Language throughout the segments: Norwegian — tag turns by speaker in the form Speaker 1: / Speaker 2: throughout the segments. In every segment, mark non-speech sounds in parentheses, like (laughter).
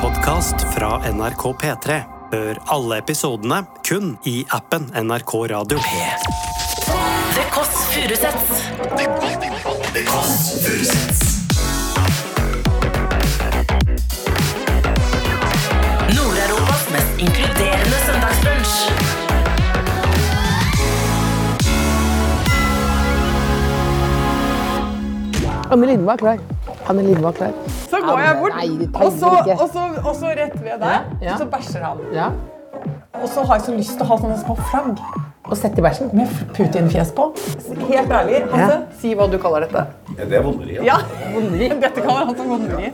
Speaker 1: podkast fra NRK P3. Hør alle episodene kun i appen NRK Radio.
Speaker 2: Det Kåss Furuseths. Nord-Europas mest inkluderende søndagsbrunsj.
Speaker 3: Anne Linde var klar. Anne Linde var klar.
Speaker 4: Så går jeg bort,
Speaker 3: Nei, det
Speaker 4: og så,
Speaker 3: teller ikke.
Speaker 4: og så, og så rett ved der,
Speaker 3: Ja, ja.
Speaker 4: så bæsjer han.
Speaker 3: Ja.
Speaker 4: Og så har jeg så lyst til å ha sånne små flagg
Speaker 3: Og sett i bæsjen.
Speaker 4: med f- Putin-fjes på. Så Helt ærlig, Hasse, si hva du kaller dette.
Speaker 5: Ja, det er vonderi.
Speaker 4: Ja,
Speaker 3: Vonderi.
Speaker 4: dette kaller han som vonderi.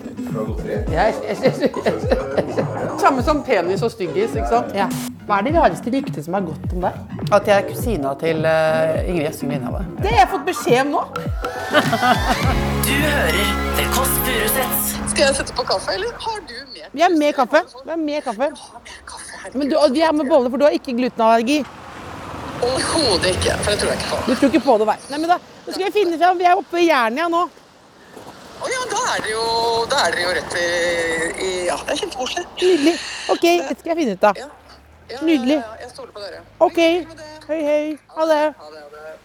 Speaker 3: Jeg- jeg- jeg- jeg-
Speaker 4: Samme som penis og styggis, ikke sant?
Speaker 3: Ja. Hva er det rareste ryktet som har gått om deg?
Speaker 4: At jeg er kusina til eh, Ingrid Gjessing Lindhave.
Speaker 3: Det har jeg fått beskjed om nå.
Speaker 2: Du hører Det Kåss Furuseths.
Speaker 6: Skal jeg sette på kaffe, eller har du mer
Speaker 3: Vi har mer kaffe. Vi har mer kaffe.
Speaker 6: kaffe?
Speaker 3: Men du, og vi har med boller, for du har ikke glutenallergi.
Speaker 6: Overhodet ikke, for det tror jeg ikke på.
Speaker 3: Du tror ikke på det, nei. nei men da, nå skal vi finne fram. Vi er oppe i Jernia nå.
Speaker 6: Å ja, da er det jo, da er det jo rett i, i Ja, det er kjempekoselig.
Speaker 3: Nydelig. OK, dette skal jeg finne ut av.
Speaker 6: Ja. Ja,
Speaker 3: Nydelig.
Speaker 6: Ja, ja, jeg stoler på dere.
Speaker 3: OK.
Speaker 6: Lykke til med det.
Speaker 3: Hei, hei. Ha det.
Speaker 6: Ha det, ha det.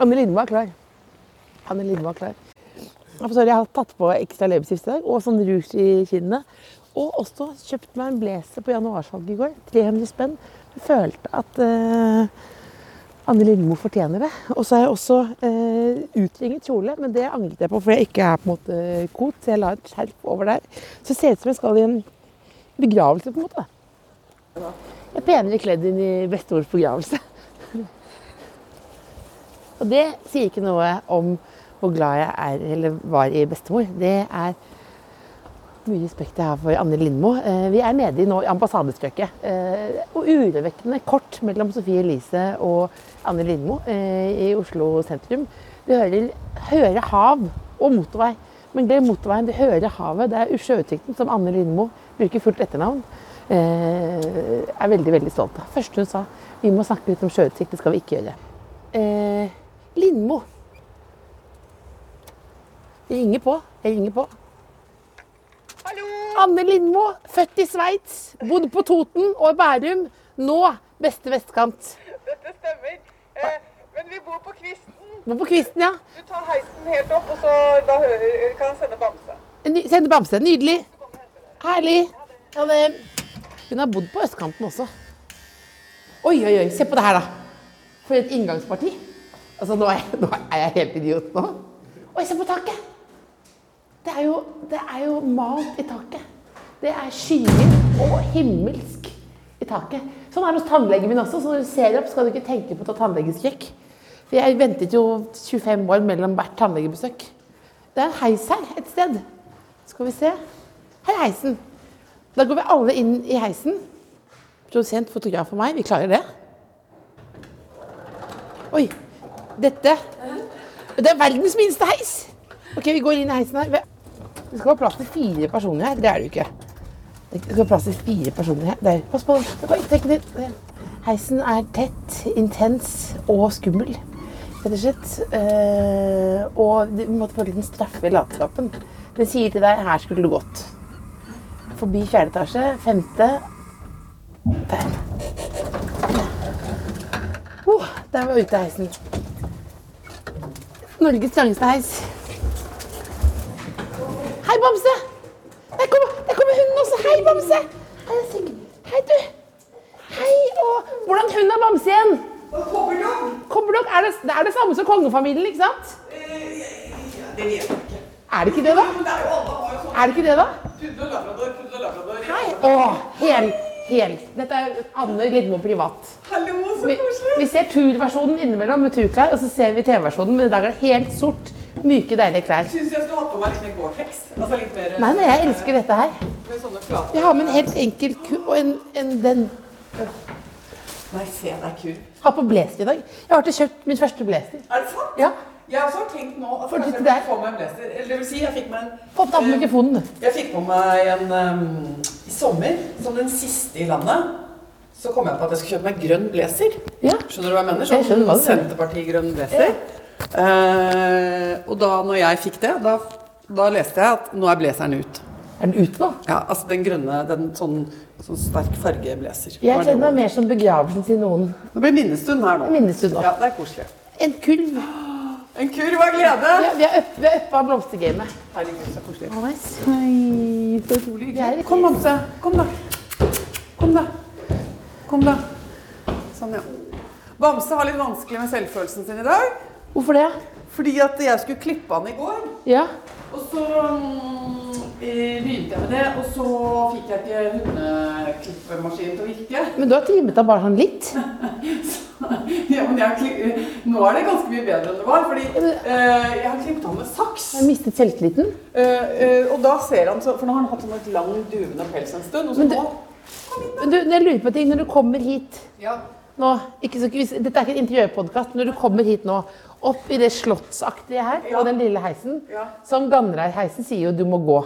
Speaker 3: Anne Linde var klar. Anne Linde var klar. Jeg forstår, jeg har tatt på ekstra leppestift i dag, og sånn rouge i kinnene. Og også kjøpt meg en blazer på januarsalget i går. 300 spenn. Jeg følte at eh, Anne Lindmo fortjener det. Og så har jeg også eh, utringet kjole, men det angret jeg på, for jeg ikke er på en måte kot, så jeg la et skjerf over der. Så det ser ut som jeg skal i en begravelse, på en måte. da. Jeg er penere kledd inn i bestemors begravelse. Og det sier ikke noe om hvor glad jeg er, eller var i bestemor. Det er mye respekt jeg har for Anne Lindmo. Eh, Vi er nede i nå i ambassadestrøket. eh, Og urovekkende kort mellom Sofie Elise og Anne Lindmo eh, i Oslo sentrum. Du hører, hører hav og motorvei. Men glem motorveien, du hører havet. Det er sjøutsikten som Anne Lindmo bruker fullt etternavn. eh, Er veldig, veldig stolt av. Første hun sa, vi må snakke litt om sjøutsikt, det skal vi ikke gjøre. Eh, Lindmo. Jeg ringer på. Jeg ringer på. Anne Lindmo, født i Sveits, bodd på Toten og Bærum. Nå beste vestkant.
Speaker 7: Dette stemmer. Eh, men vi bor på kvisten.
Speaker 3: Bor på kvisten, ja.
Speaker 7: Du tar heisen helt opp, og så da hører, kan jeg sende bamse.
Speaker 3: Ny Sende bamse. Nydelig. Herlig. Ja, det- Hun har bodd på østkanten også. Oi, oi, oi. Se på det her, da. For et inngangsparti. Altså, nå er jeg, nå er jeg helt idiot nå. Oi, se på taket. Det er jo, det er jo malt i taket. Det er skyer og himmelsk i taket. Sånn er det hos tannlegen min også. Så når du ser opp, skal du ikke tenke på å ta tannlegeskrekk. For jeg ventet jo 25 år mellom hvert tannlegebesøk. Det er en heis her et sted. Skal vi se. Her er heisen. Da går vi alle inn i heisen. Produsent, fotograf og meg. Vi klarer det. Oi. Dette Det er verdens minste heis! OK, vi går inn i heisen her. Det skal være plass til fire personer her. Det er det jo ikke. Det skal være plass til fire personer her. Der. Pass på. Oi, trekk den inn. Heisen er tett, intens og skummel. Rett og slett. Eh, og du måtte følge den straffe latskapen. Den sier til deg 'her skulle du gått'. Forbi fjerde etasje, femte Der. Oh, der var ute heisen. Norges trangeste heis. Hei, Bamse! Der kommer, der kommer hunden også. Hei, Bamse! Hei, jeg synger. Hei, du. Hei, og hvordan hun er Bamse igjen? Kobberlokk? Er det, det er det samme som kongefamilien, ikke sant? det vet jeg ikke. Er det ikke det, da? Er det ikke det, da? Hei. Å, hel, hel. Dette er Anne Lidmo privat.
Speaker 4: Hallo, så
Speaker 3: Vi, vi ser turversjonen innimellom med turklær, og så ser vi TV-versjonen, men i dag er det helt sort, myke, deilige klær.
Speaker 4: Syns jeg skulle hatt på meg litt mer Gore-Tex. Altså litt mer
Speaker 3: Nei, nei, jeg elsker dette her.
Speaker 4: med sånne flater.
Speaker 3: Jeg har med en helt enkel ku og en, en den.
Speaker 4: Nei, se, det er kul.
Speaker 3: Har på blazer i dag. Jeg har til kjøpt min første blazer.
Speaker 4: Er det sant?
Speaker 3: Ja.
Speaker 4: Jeg har også tenkt nå at
Speaker 3: For
Speaker 4: kanskje
Speaker 3: det
Speaker 4: jeg
Speaker 3: der-
Speaker 4: får meg en blazer. Eller det vil si, jeg fikk meg en
Speaker 3: Få opp den på mikrofonen. du.
Speaker 4: Jeg fikk på meg en um, i sommer, som den siste i landet. Så kom jeg på at jeg skulle kjøpe meg grønn blazer.
Speaker 3: Ja.
Speaker 4: Skjønner du hva jeg mener? Sånn
Speaker 3: Jeg skjønner hva du mener.
Speaker 4: Senterparti-grønn blazer. Eh, og da når jeg fikk det, da, da leste jeg at nå er blazeren ut.
Speaker 3: Er den ute nå?
Speaker 4: Ja, altså den grønne, den sånn, sånn sterk fargeblazer.
Speaker 3: Jeg kjenner meg mer som begravelsen til noen.
Speaker 4: Det blir minnestund her nå.
Speaker 3: Minnestund nå.
Speaker 4: Ja, det er koselig.
Speaker 3: En kulv.
Speaker 4: En kurv av glede!
Speaker 3: Ja, vi er oppe opp av blomstergamet.
Speaker 4: Herregud, så koselig.
Speaker 3: Å, nei, søy, så utrolig hyggelig.
Speaker 4: Kom, Bamse. Kom, da. Kom, da. Kom, da. Sånn, ja. Bamse har litt vanskelig med selvfølelsen sin i dag.
Speaker 3: Hvorfor det?
Speaker 4: Fordi at jeg skulle klippe han i går,
Speaker 3: Ja.
Speaker 4: og så mm, eh, begynte jeg med det. Og så fikk jeg ikke hundeklippermaskinen til å virke. (laughs)
Speaker 3: Men du har trimmet av bare han litt.
Speaker 4: Ja, men jeg, kli- nå er det ganske mye bedre enn det var, fordi eh, jeg har klippet han med saks.
Speaker 3: Jeg har mistet selvtilliten.
Speaker 4: Eh, eh, og da ser han så For nå har han hatt sånn et lang, duvende pels en stund. Og så
Speaker 3: Men du-
Speaker 4: nå
Speaker 3: Men du, jeg lurer på en ting. Når du kommer hit
Speaker 4: ja.
Speaker 3: nå ikke så, hvis, Dette er ikke en intervjuerpodkast. Når du kommer hit nå, opp i det slottsaktige her,
Speaker 4: Ja.
Speaker 3: og den lille heisen
Speaker 4: Ja.
Speaker 3: Som Ganreid-heisen sier jo 'du må gå'.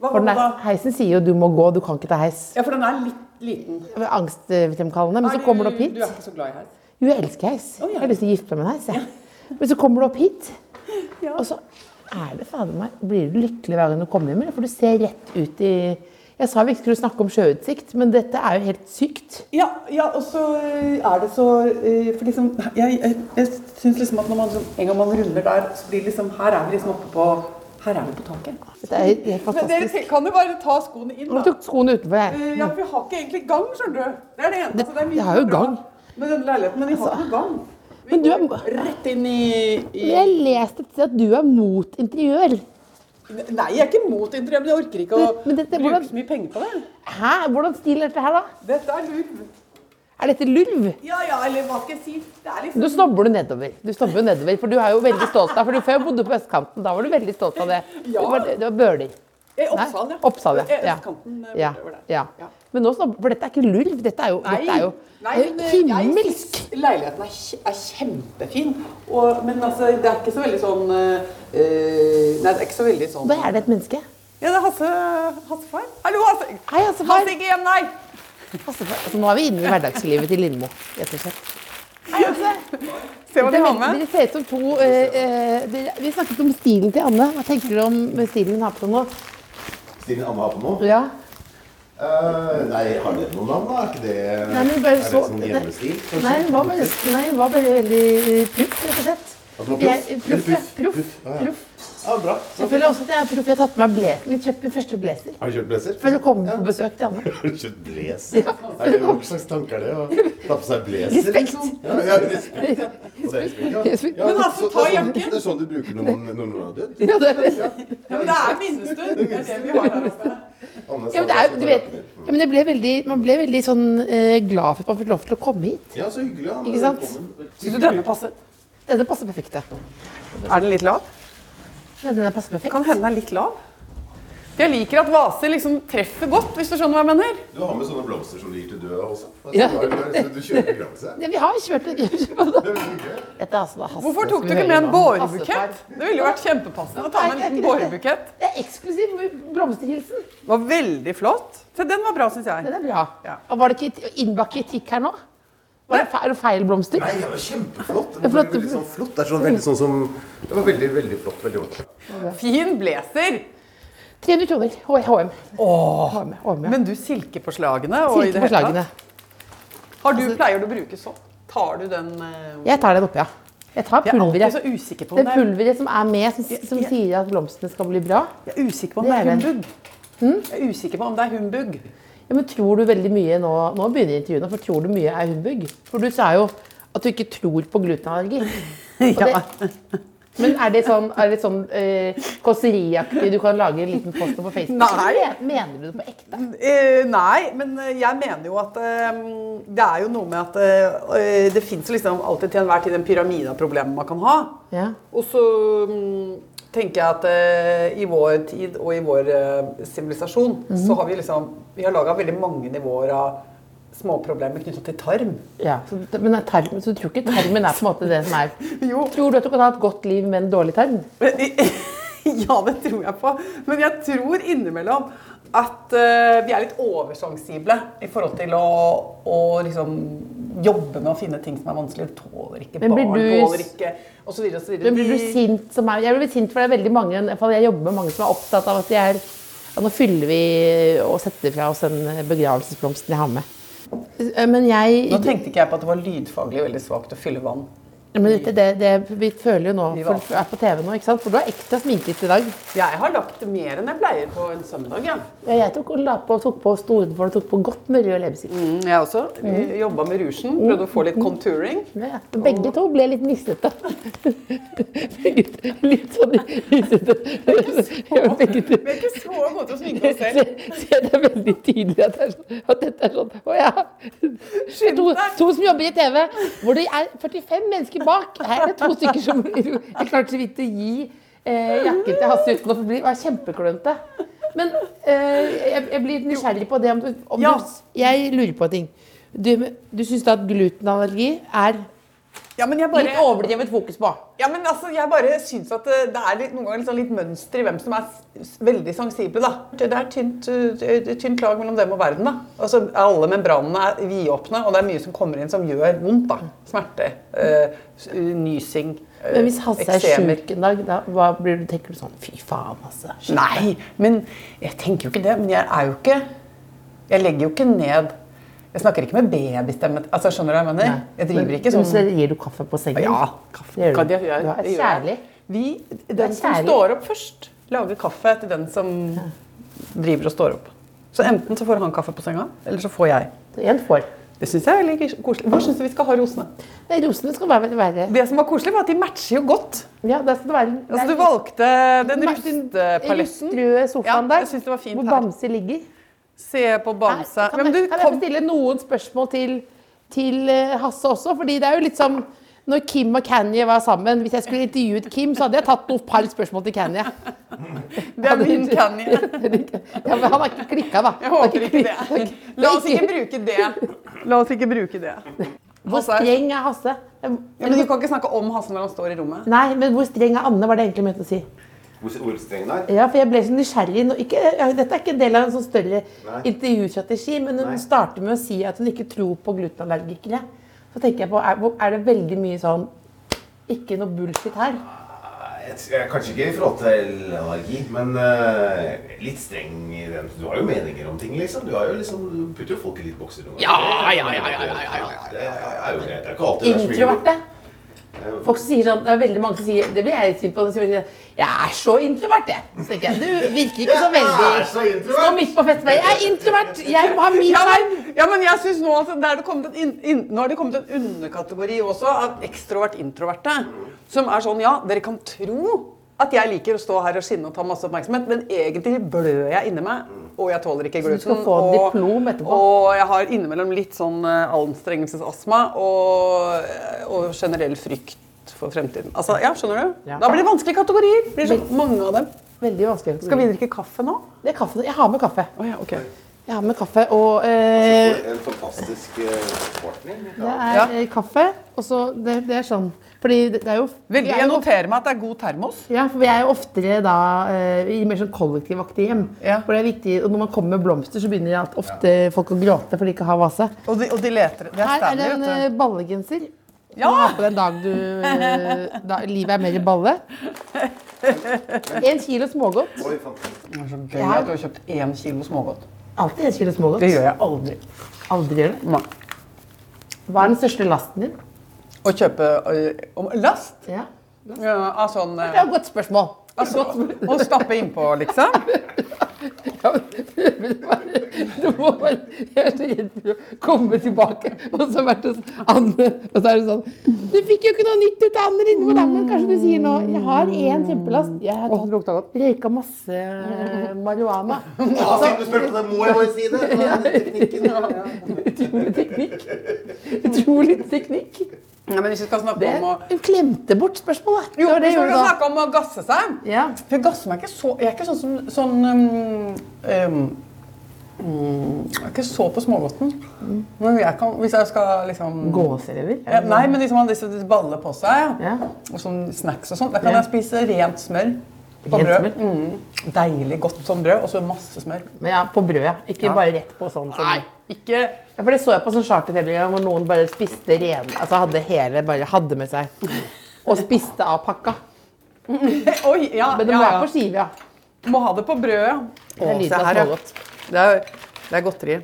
Speaker 4: Hva
Speaker 3: For
Speaker 4: var
Speaker 3: den
Speaker 4: det da?
Speaker 3: er, heisen sier jo 'du må gå, du kan ikke ta heis'.
Speaker 4: Ja, for den er litt liten.
Speaker 3: Angstfremkallende. Men så kommer du opp hit.
Speaker 4: Du er ikke så glad i heis?
Speaker 3: Jo, jeg elsker heis.
Speaker 4: Å, ja.
Speaker 3: Jeg har lyst til å gifte meg med en heis. jeg. Men så kommer du opp hit, og så er det fader meg Blir du lykkelig hver gang du kommer hjem, eller? For du ser rett ut i Jeg sa vi ikke skulle snakke om sjøutsikt, men dette er jo helt sykt.
Speaker 4: Ja, ja og så eh, er det så eh, For liksom Jeg, jeg, jeg syns liksom at når man sånn- en gang man runder der, så blir det liksom Her er vi liksom oppe på Her er vi på taket.
Speaker 3: Dette er helt- helt
Speaker 4: Men dere
Speaker 3: fantastisk.
Speaker 4: te- kan jo bare ta skoene inn,
Speaker 3: Nå
Speaker 4: da.
Speaker 3: tok skoene utenfor, jeg.
Speaker 4: Eh, Ja, for vi har ikke egentlig gang, skjønner du. Det er det eneste.
Speaker 3: Det-
Speaker 4: så det er mye
Speaker 3: jeg har jo
Speaker 4: bra
Speaker 3: gang. Altså,
Speaker 4: Med denne leiligheten, men vi har ikke noe gang. Vi
Speaker 3: Men du er-
Speaker 4: går rett inn i, i
Speaker 3: Jeg har lest et sted at du er mot interiør.
Speaker 4: Nei, jeg er ikke mot interiør, men jeg orker ikke å
Speaker 3: Men- men dette-
Speaker 4: bruke
Speaker 3: hvordan-
Speaker 4: så mye penger på det.
Speaker 3: Hæ? Hvordan stil er dette her, da?
Speaker 4: Dette er lurt.
Speaker 3: Er dette lurv?
Speaker 4: Ja ja, eller hva skal jeg si. Det er liksom
Speaker 3: Du snobber du nedover. Du snobber jo nedover, for du er jo veldig stolt av For du før bodde på østkanten, da var du veldig stolt av det. Du
Speaker 4: Ja.
Speaker 3: var, du var Bøler.
Speaker 4: Eh,
Speaker 3: Nei,
Speaker 4: Oppsal, ja.
Speaker 3: Oppsal, ja.
Speaker 4: Eh,
Speaker 3: ja.
Speaker 4: Østkanten, eh,
Speaker 3: ja.
Speaker 4: bortover der.
Speaker 3: ja.
Speaker 4: Ja.
Speaker 3: Men nå snobber For dette er ikke lurv, dette er jo, dette er jo
Speaker 4: Nei,
Speaker 3: det er jo
Speaker 4: men, eh,
Speaker 3: himmelsk.
Speaker 4: Jeg synes leiligheten er, kje- er kjempefin, og, men altså, det er ikke så veldig sånn eh, eh, Nei, det er ikke så veldig sånn
Speaker 3: Da er det et menneske.
Speaker 4: Ja, det er Hasse Hassefar. Hallo, Hasse.
Speaker 3: Hei, Hassefar.
Speaker 4: Hasse ikke hjem, nei.
Speaker 3: Altså, altså, nå er vi inne i hverdagslivet til Lindmo, rett og slett.
Speaker 4: Se hva de
Speaker 3: Dere
Speaker 4: har med.
Speaker 3: dere ser ut som to eh, eh, dere, Vi snakket om stilen til Anne. Hva tenker dere om stilen hun har på seg nå?
Speaker 5: Stine Anne har på noe?
Speaker 3: Ja.
Speaker 5: Eh, nei, har dere noen navn, da? Er ikke det,
Speaker 3: Nei, men bare
Speaker 5: er det
Speaker 3: så-
Speaker 5: sånn
Speaker 3: nei.
Speaker 5: hjemmestil? kanskje?
Speaker 3: Nei, hun var bare, nei, hun var bare veldig eh, proff, rett og slett.
Speaker 5: At den var
Speaker 3: Jeg- Proff,
Speaker 5: proff?
Speaker 3: ja.
Speaker 5: Proff,
Speaker 3: Proff.
Speaker 5: proff, ja, ja.
Speaker 3: proff.
Speaker 5: Ja, bra.
Speaker 3: Jeg føler også at jeg er proff. Jeg har tatt på meg blazer. Vi kjøpte min første blazer.
Speaker 5: Har du kjøpt blazer?
Speaker 3: Før du kom på besøk til Anne. (laughs)
Speaker 5: Har du kjøpt blazer? Er det, hva slags tanker er det å ta på seg blazer?
Speaker 3: Respekt.
Speaker 5: liksom? Ja, ja, respekt. ja. Og det er respekt, ja.
Speaker 3: Respekt.
Speaker 5: Ja,
Speaker 4: Men Hasse, ta
Speaker 5: så- det er sånn-
Speaker 4: jakken.
Speaker 5: Det er sånn du bruker når man- når noen har dødd.
Speaker 3: Ja, det,
Speaker 4: Ja, men det er minnestund. Det er det vi har her oppe.
Speaker 5: Anne
Speaker 3: Ja, men, det
Speaker 5: sa
Speaker 3: er,
Speaker 5: sånn
Speaker 3: jo- du
Speaker 5: at
Speaker 3: vet, ja, men jeg ble veldig, man ble veldig sånn, eh, glad for at man fikk lov til å komme hit.
Speaker 5: Ja, så hyggelig. Anne.
Speaker 3: Ikke sant?
Speaker 5: Velkommen.
Speaker 4: Syns du denne passer?
Speaker 3: Denne passer perfekt. ja.
Speaker 4: Er den litt lav?
Speaker 3: Ja, Denne passer perfekt.
Speaker 4: Kan hende den er litt lav. Jeg liker at vaser liksom treffer godt, hvis du skjønner hva jeg mener.
Speaker 5: Du har med sånne blomster som ligger til døde også. Altså,
Speaker 3: Ja.
Speaker 5: du, har, du kjøper blomster.
Speaker 3: Ja, vi har kjørt (laughs) et
Speaker 5: Det er veldig hyggelig.
Speaker 3: Dette er altså da Hasse
Speaker 4: Hvorfor tok
Speaker 3: som vi
Speaker 4: du ikke med en
Speaker 3: hører nå.
Speaker 4: bårebukett?
Speaker 3: Hassefar.
Speaker 4: Det ville jo vært kjempepassende å ta med en liten bårebukett.
Speaker 3: Det er eksklusiv blomsterhilsen.
Speaker 4: Det var veldig flott. Se, den var bra, syns jeg.
Speaker 3: Den er bra.
Speaker 4: Ja.
Speaker 3: Og var det ikke innbakt kritikk her nå? Var det feil, er det feil blomster?
Speaker 5: Nei, det var kjempeflott.
Speaker 3: Ja,
Speaker 5: Det
Speaker 3: flott.
Speaker 5: var veldig sånn flott. Det er sånn veldig sånn som Det var veldig, veldig flott. Veldig ordentlig.
Speaker 4: Fin blazer.
Speaker 3: 300 kroner. H- HM. HM, HM, ja.
Speaker 4: Men du, silke på slagene og i
Speaker 3: Silke
Speaker 4: det
Speaker 3: på
Speaker 4: hele
Speaker 3: slagene.
Speaker 4: tatt. Har
Speaker 3: Altså-
Speaker 4: du, pleier du å bruke sånn? Tar du den eh,
Speaker 3: Jeg tar den oppi, ja. Jeg tar
Speaker 4: Jeg er alltid så
Speaker 3: pulveret.
Speaker 4: usikker på
Speaker 3: Det
Speaker 4: om det er,
Speaker 3: pulveret som er med, som, som
Speaker 4: Jeg-
Speaker 3: sier at blomstene skal bli bra.
Speaker 4: jeg er, usikker på om
Speaker 3: Det
Speaker 4: det er
Speaker 3: er den. Hm?
Speaker 4: humbug. Jeg er usikker på om det er humbug. (laughs)
Speaker 3: Ja, men tror du veldig mye nå, nå begynner intervjuene, for tror du mye er humbug? For du sa jo at du ikke tror på glutenallergi. Og
Speaker 4: (laughs) Ja.
Speaker 3: det- Men er det sånn, er det sånn eh, kåseriaktig, du kan lage en liten post på Facebook?
Speaker 4: Nei.
Speaker 3: Eller men- Mener du det på ekte?
Speaker 4: (laughs) Eh, nei, men eh, jeg mener jo at eh, det er jo noe med at eh, eh, det fins liksom alltid til enhver tid en pyramide av problemer man kan ha.
Speaker 3: Ja.
Speaker 4: Og så mm, tenker jeg at eh, i vår tid og i vår eh, sivilisasjon så har vi liksom Vi har laga veldig mange nivåer av småproblemer knytta til tarm.
Speaker 3: ja. Så, det- men er tarm, så du tror ikke tarmen er på en måte det som er
Speaker 4: Jo.
Speaker 3: Tror du at du kan ha et godt liv med en dårlig tarm?
Speaker 4: (laughs) ja, det tror jeg på. Men jeg tror innimellom at eh, vi er litt oversensible i forhold til å, å liksom jobbe med å finne ting som er vanskelig. Du tåler ikke
Speaker 3: Men
Speaker 4: barn,
Speaker 3: blir du-
Speaker 4: tåler ikke osv.
Speaker 3: Men blir du sint som meg? Jeg blir sint for det er veldig mange, i hvert fall jeg jobber med mange som er opptatt av at de er Ja, nå fyller vi og setter fra oss den begravelsesblomsten jeg har med. Eh, Men jeg
Speaker 4: Nå tenkte ikke jeg på at det var lydfaglig veldig svakt å fylle vann.
Speaker 3: men det, det, det, Vi føler jo nå
Speaker 4: Vi
Speaker 3: For du er på TV nå, ikke sant? For du er ekstra sminket i dag.
Speaker 4: Jeg har lagt mer enn jeg pleier på en søndag, ja.
Speaker 3: Ja, jeg tok, og la på, tok på Storenfor og tok på godt med rød leppestift.
Speaker 4: Mm, jeg også. Mm. Jobba med rougen, prøvde å få litt contouring.
Speaker 3: Ja, begge to ble litt nissete. (laughs) litt, litt sånn nissete. Ja, begge to.
Speaker 4: Vi er ikke så gode til å sminke oss
Speaker 3: Se,
Speaker 4: selv.
Speaker 3: se, det er veldig tydelig at, det er sånn, at dette er sånn Å ja! Det er To, to som jobber i TV, hvor det er 45 mennesker bak. Her er det to stykker som Jeg klarte så vidt å gi eh, jakken til Hasse uten å bli var kjempeklønete. Men eh, jeg, jeg blir litt nysgjerrig på det om du, om
Speaker 4: Ja.
Speaker 3: du Jeg lurer på en ting. Du, du syns da at glutenallergi er
Speaker 4: Ja, men jeg
Speaker 3: litt
Speaker 4: bare,
Speaker 3: overdrevet fokus på?
Speaker 4: ja, men altså, jeg bare syns at eh, det det er litt, noen ganger litt sånn litt mønster i hvem som er s- s- veldig sensible, da. Det det er tynt, eh, et tynt lag mellom dem og verden, da. Altså, alle membranene er vidåpne, og det er mye som kommer inn som gjør vondt, da. Smerte, eh, s- nysing, eh,
Speaker 3: Men hvis Hasse er
Speaker 4: eksemer.
Speaker 3: sjuk en dag, da hva blir du, tenker du sånn Fy faen, Hasse. shit.
Speaker 4: Nei, men jeg tenker jo ikke det. Men jeg er jo ikke Jeg legger jo ikke ned Jeg snakker ikke med babystemmet. Altså, skjønner du hva jeg mener? Jeg driver ikke
Speaker 3: Men-
Speaker 4: sånn.
Speaker 3: Men så gir du kaffe på sengen?
Speaker 4: Ja,
Speaker 3: Det
Speaker 4: kaffe
Speaker 3: gjør
Speaker 4: kan
Speaker 3: du.
Speaker 4: jeg gjøre.
Speaker 3: Du er
Speaker 4: det gjør
Speaker 3: kjærlig.
Speaker 4: jeg. Vi,
Speaker 3: er
Speaker 4: den som
Speaker 3: kjærlig.
Speaker 4: står opp først, lager kaffe til den som driver og står opp. Så enten så får han kaffe på senga, eller så får jeg.
Speaker 3: En får.
Speaker 4: Det syns jeg er veldig koselig. Hvor syns du vi skal ha rosene?
Speaker 3: Nei, rosene skal være, være
Speaker 4: Det som var koselig, var at de matcher jo godt.
Speaker 3: Ja, da skal det være
Speaker 4: Altså, du valgte den ruste paletten.
Speaker 3: Rustrøde sofaen
Speaker 4: Ja,
Speaker 3: der,
Speaker 4: jeg synes det var fint
Speaker 3: hvor
Speaker 4: her.
Speaker 3: Bamse ligger.
Speaker 4: Se på Bamse.
Speaker 3: Her,
Speaker 4: Ja,
Speaker 3: kan,
Speaker 4: men du
Speaker 3: jeg, kan jeg få
Speaker 4: kom
Speaker 3: stille noen spørsmål til, til eh, Hasse også? Fordi det er jo litt som når Kim og Kanye var sammen, Hvis jeg skulle intervjuet Kim, så hadde jeg tatt noen par spørsmål til Kanye. (laughs)
Speaker 4: Det er min Kanye.
Speaker 3: Ja, men han har ikke klikka, da.
Speaker 4: Jeg håper ikke det. La oss ikke bruke det. La oss ikke bruke det.
Speaker 3: Hvor streng er Hasse?
Speaker 4: Ja, men du kan ikke snakke om Hasse når han står i rommet.
Speaker 3: Nei, men hvor streng er Anne, var det jeg egentlig mente å si.
Speaker 5: Ordstrengen der?
Speaker 3: Ja, for jeg ble så nysgjerrig. nå- Ikke, ja, dette er ikke en del av en sånn større
Speaker 5: Nei.
Speaker 3: intervjustrategi, men hun
Speaker 5: Nei.
Speaker 3: starter med å si at hun ikke tror på glutenallergikere. Så tenker jeg på, er, hvor- er det veldig mye sånn ikke noe bullshit her?
Speaker 5: Jeg tror- jeg- Kanskje ikke i forhold til allergi, men eh, litt streng i den. Du har jo meninger om ting, liksom. Du, har jo liksom, du putter jo folk i litt bokser noen ganger. Ja, ja, ja, ja, Det er jo greit. Det er ikke alltid det er så mye
Speaker 3: Introvert, det. Folk som sier sånn, Det er veldig mange som sier Det blir jeg litt sint på. som sier, Jeg er så introvert, jeg. Så tenker jeg, du virker ikke så
Speaker 5: (laughs) Jeg er
Speaker 3: veldig
Speaker 5: så
Speaker 3: Stå
Speaker 5: introvert!
Speaker 3: midt på festen med Jeg er introvert! Jeg må ha min
Speaker 4: Ja,
Speaker 3: skjerm!
Speaker 4: men, ja, men jeg synes Nå altså, det er det kommet en, inn- inn- nå har det kommet en underkategori også av ekstrovert-introverte. Som er sånn Ja, dere kan tro at jeg liker å stå her og skinne og ta masse oppmerksomhet, men egentlig blør jeg inni meg. Og jeg tåler ikke gluten.
Speaker 3: du skal få
Speaker 4: og,
Speaker 3: diplom etterpå.
Speaker 4: og jeg har innimellom litt sånn eh, anstrengelsesastma og, og generell frykt for fremtiden. Altså, ja, skjønner du?
Speaker 3: Ja.
Speaker 4: Da blir det vanskelige kategorier. Blir så mange av dem.
Speaker 3: Veldig vanskelig.
Speaker 4: Skal vi drikke kaffe nå?
Speaker 3: Det er kaffe. Jeg har med kaffe.
Speaker 4: Å ja, ok.
Speaker 3: Jeg har med kaffe og eh,
Speaker 5: En fantastisk eh, partner.
Speaker 3: Det er
Speaker 4: Ja.
Speaker 3: eh, kaffe, og så det, det er sånn. Fordi det, det er jo vi
Speaker 4: Veldig,
Speaker 3: er
Speaker 4: jeg
Speaker 3: jo,
Speaker 4: noterer meg at det er god termos.
Speaker 3: ja, for vi er jo oftere da eh, i mer sånn kollektivaktige hjem.
Speaker 4: Ja.
Speaker 3: For det er viktig, og når man kommer med blomster, så begynner alt- ofte folk å gråte fordi de ikke har vase.
Speaker 4: Og de, og de leter. Det er
Speaker 3: Her er det en
Speaker 4: Stanley,
Speaker 3: eh,
Speaker 4: vet du.
Speaker 3: ballegenser.
Speaker 4: Ja!
Speaker 3: Du har på den dag du eh, da, Livet er mer i balle. Én kilo smågodt.
Speaker 5: Oi, fantastisk.
Speaker 4: Det er så gøy at du har kjøpt én kilo smågodt.
Speaker 3: Alltid én kilo smågodt.
Speaker 4: Det gjør jeg aldri.
Speaker 3: Aldri gjør det.
Speaker 4: Nei.
Speaker 3: Hva er den største lasten din?
Speaker 4: Å kjøpe ø, om- last
Speaker 3: Ja.
Speaker 4: ja, av sånn
Speaker 3: Det er
Speaker 4: ø,
Speaker 3: et godt spørsmål. (laughs)
Speaker 4: altså, Å stappe innpå, liksom.
Speaker 3: Ja, men det var- det må være, jeg er så redd for å (laughs) komme tilbake, og så har det sånn Anne, og så er det sånn Du fikk jo ikke noe nytt ut av Anne Lindmo, da, men kanskje du sier nå Jeg har én kjempelast. Jeg har tatt, røyka masse eh, marihuana.
Speaker 5: Ja, siden du spurte om det, må jeg bare
Speaker 4: (laughs)
Speaker 5: si det. Det er den teknikken.
Speaker 3: Utrolig teknikk. Utrolig teknikk.
Speaker 4: Nei, men hvis vi skal snakke
Speaker 3: Det,
Speaker 4: om å
Speaker 3: hun klemte bort spørsmålet.
Speaker 4: Jo,
Speaker 3: var
Speaker 4: hvis
Speaker 3: hun
Speaker 4: vi skal
Speaker 3: da.
Speaker 4: snakke om å gasse seg
Speaker 3: Ja.
Speaker 4: For jeg gasser meg ikke så Jeg er ikke sånn som sånn, øhm, øhm, mm, Jeg er ikke så på smågodten.
Speaker 3: Mm.
Speaker 4: Men jeg kan, hvis jeg skal liksom
Speaker 3: Gåserever?
Speaker 4: Ja, Nei, men liksom han disse baller på seg,
Speaker 3: Ja.
Speaker 4: og sånn snacks og sånn. Da kan
Speaker 3: Ja.
Speaker 4: jeg spise rent smør på
Speaker 3: Rent
Speaker 4: brød.
Speaker 3: smør?
Speaker 4: Mm. Deilig godt sånn brød, og så masse smør.
Speaker 3: Men ja, på brød, ja. Ikke bare rett på sånn. som-
Speaker 4: ikke
Speaker 3: Ja, for det så jeg på sånn charterfeber hvor noen bare spiste ren, altså hadde hele, bare hadde med seg. Og spiste av pakka.
Speaker 4: Oi, ja,
Speaker 3: Men det
Speaker 4: ja,
Speaker 3: må
Speaker 4: ja.
Speaker 3: være på skive, ja.
Speaker 4: Må ha det på brødet. Å,
Speaker 3: er nydelig
Speaker 4: se her, ja.
Speaker 3: smågodt.
Speaker 4: Det er, det er godteri.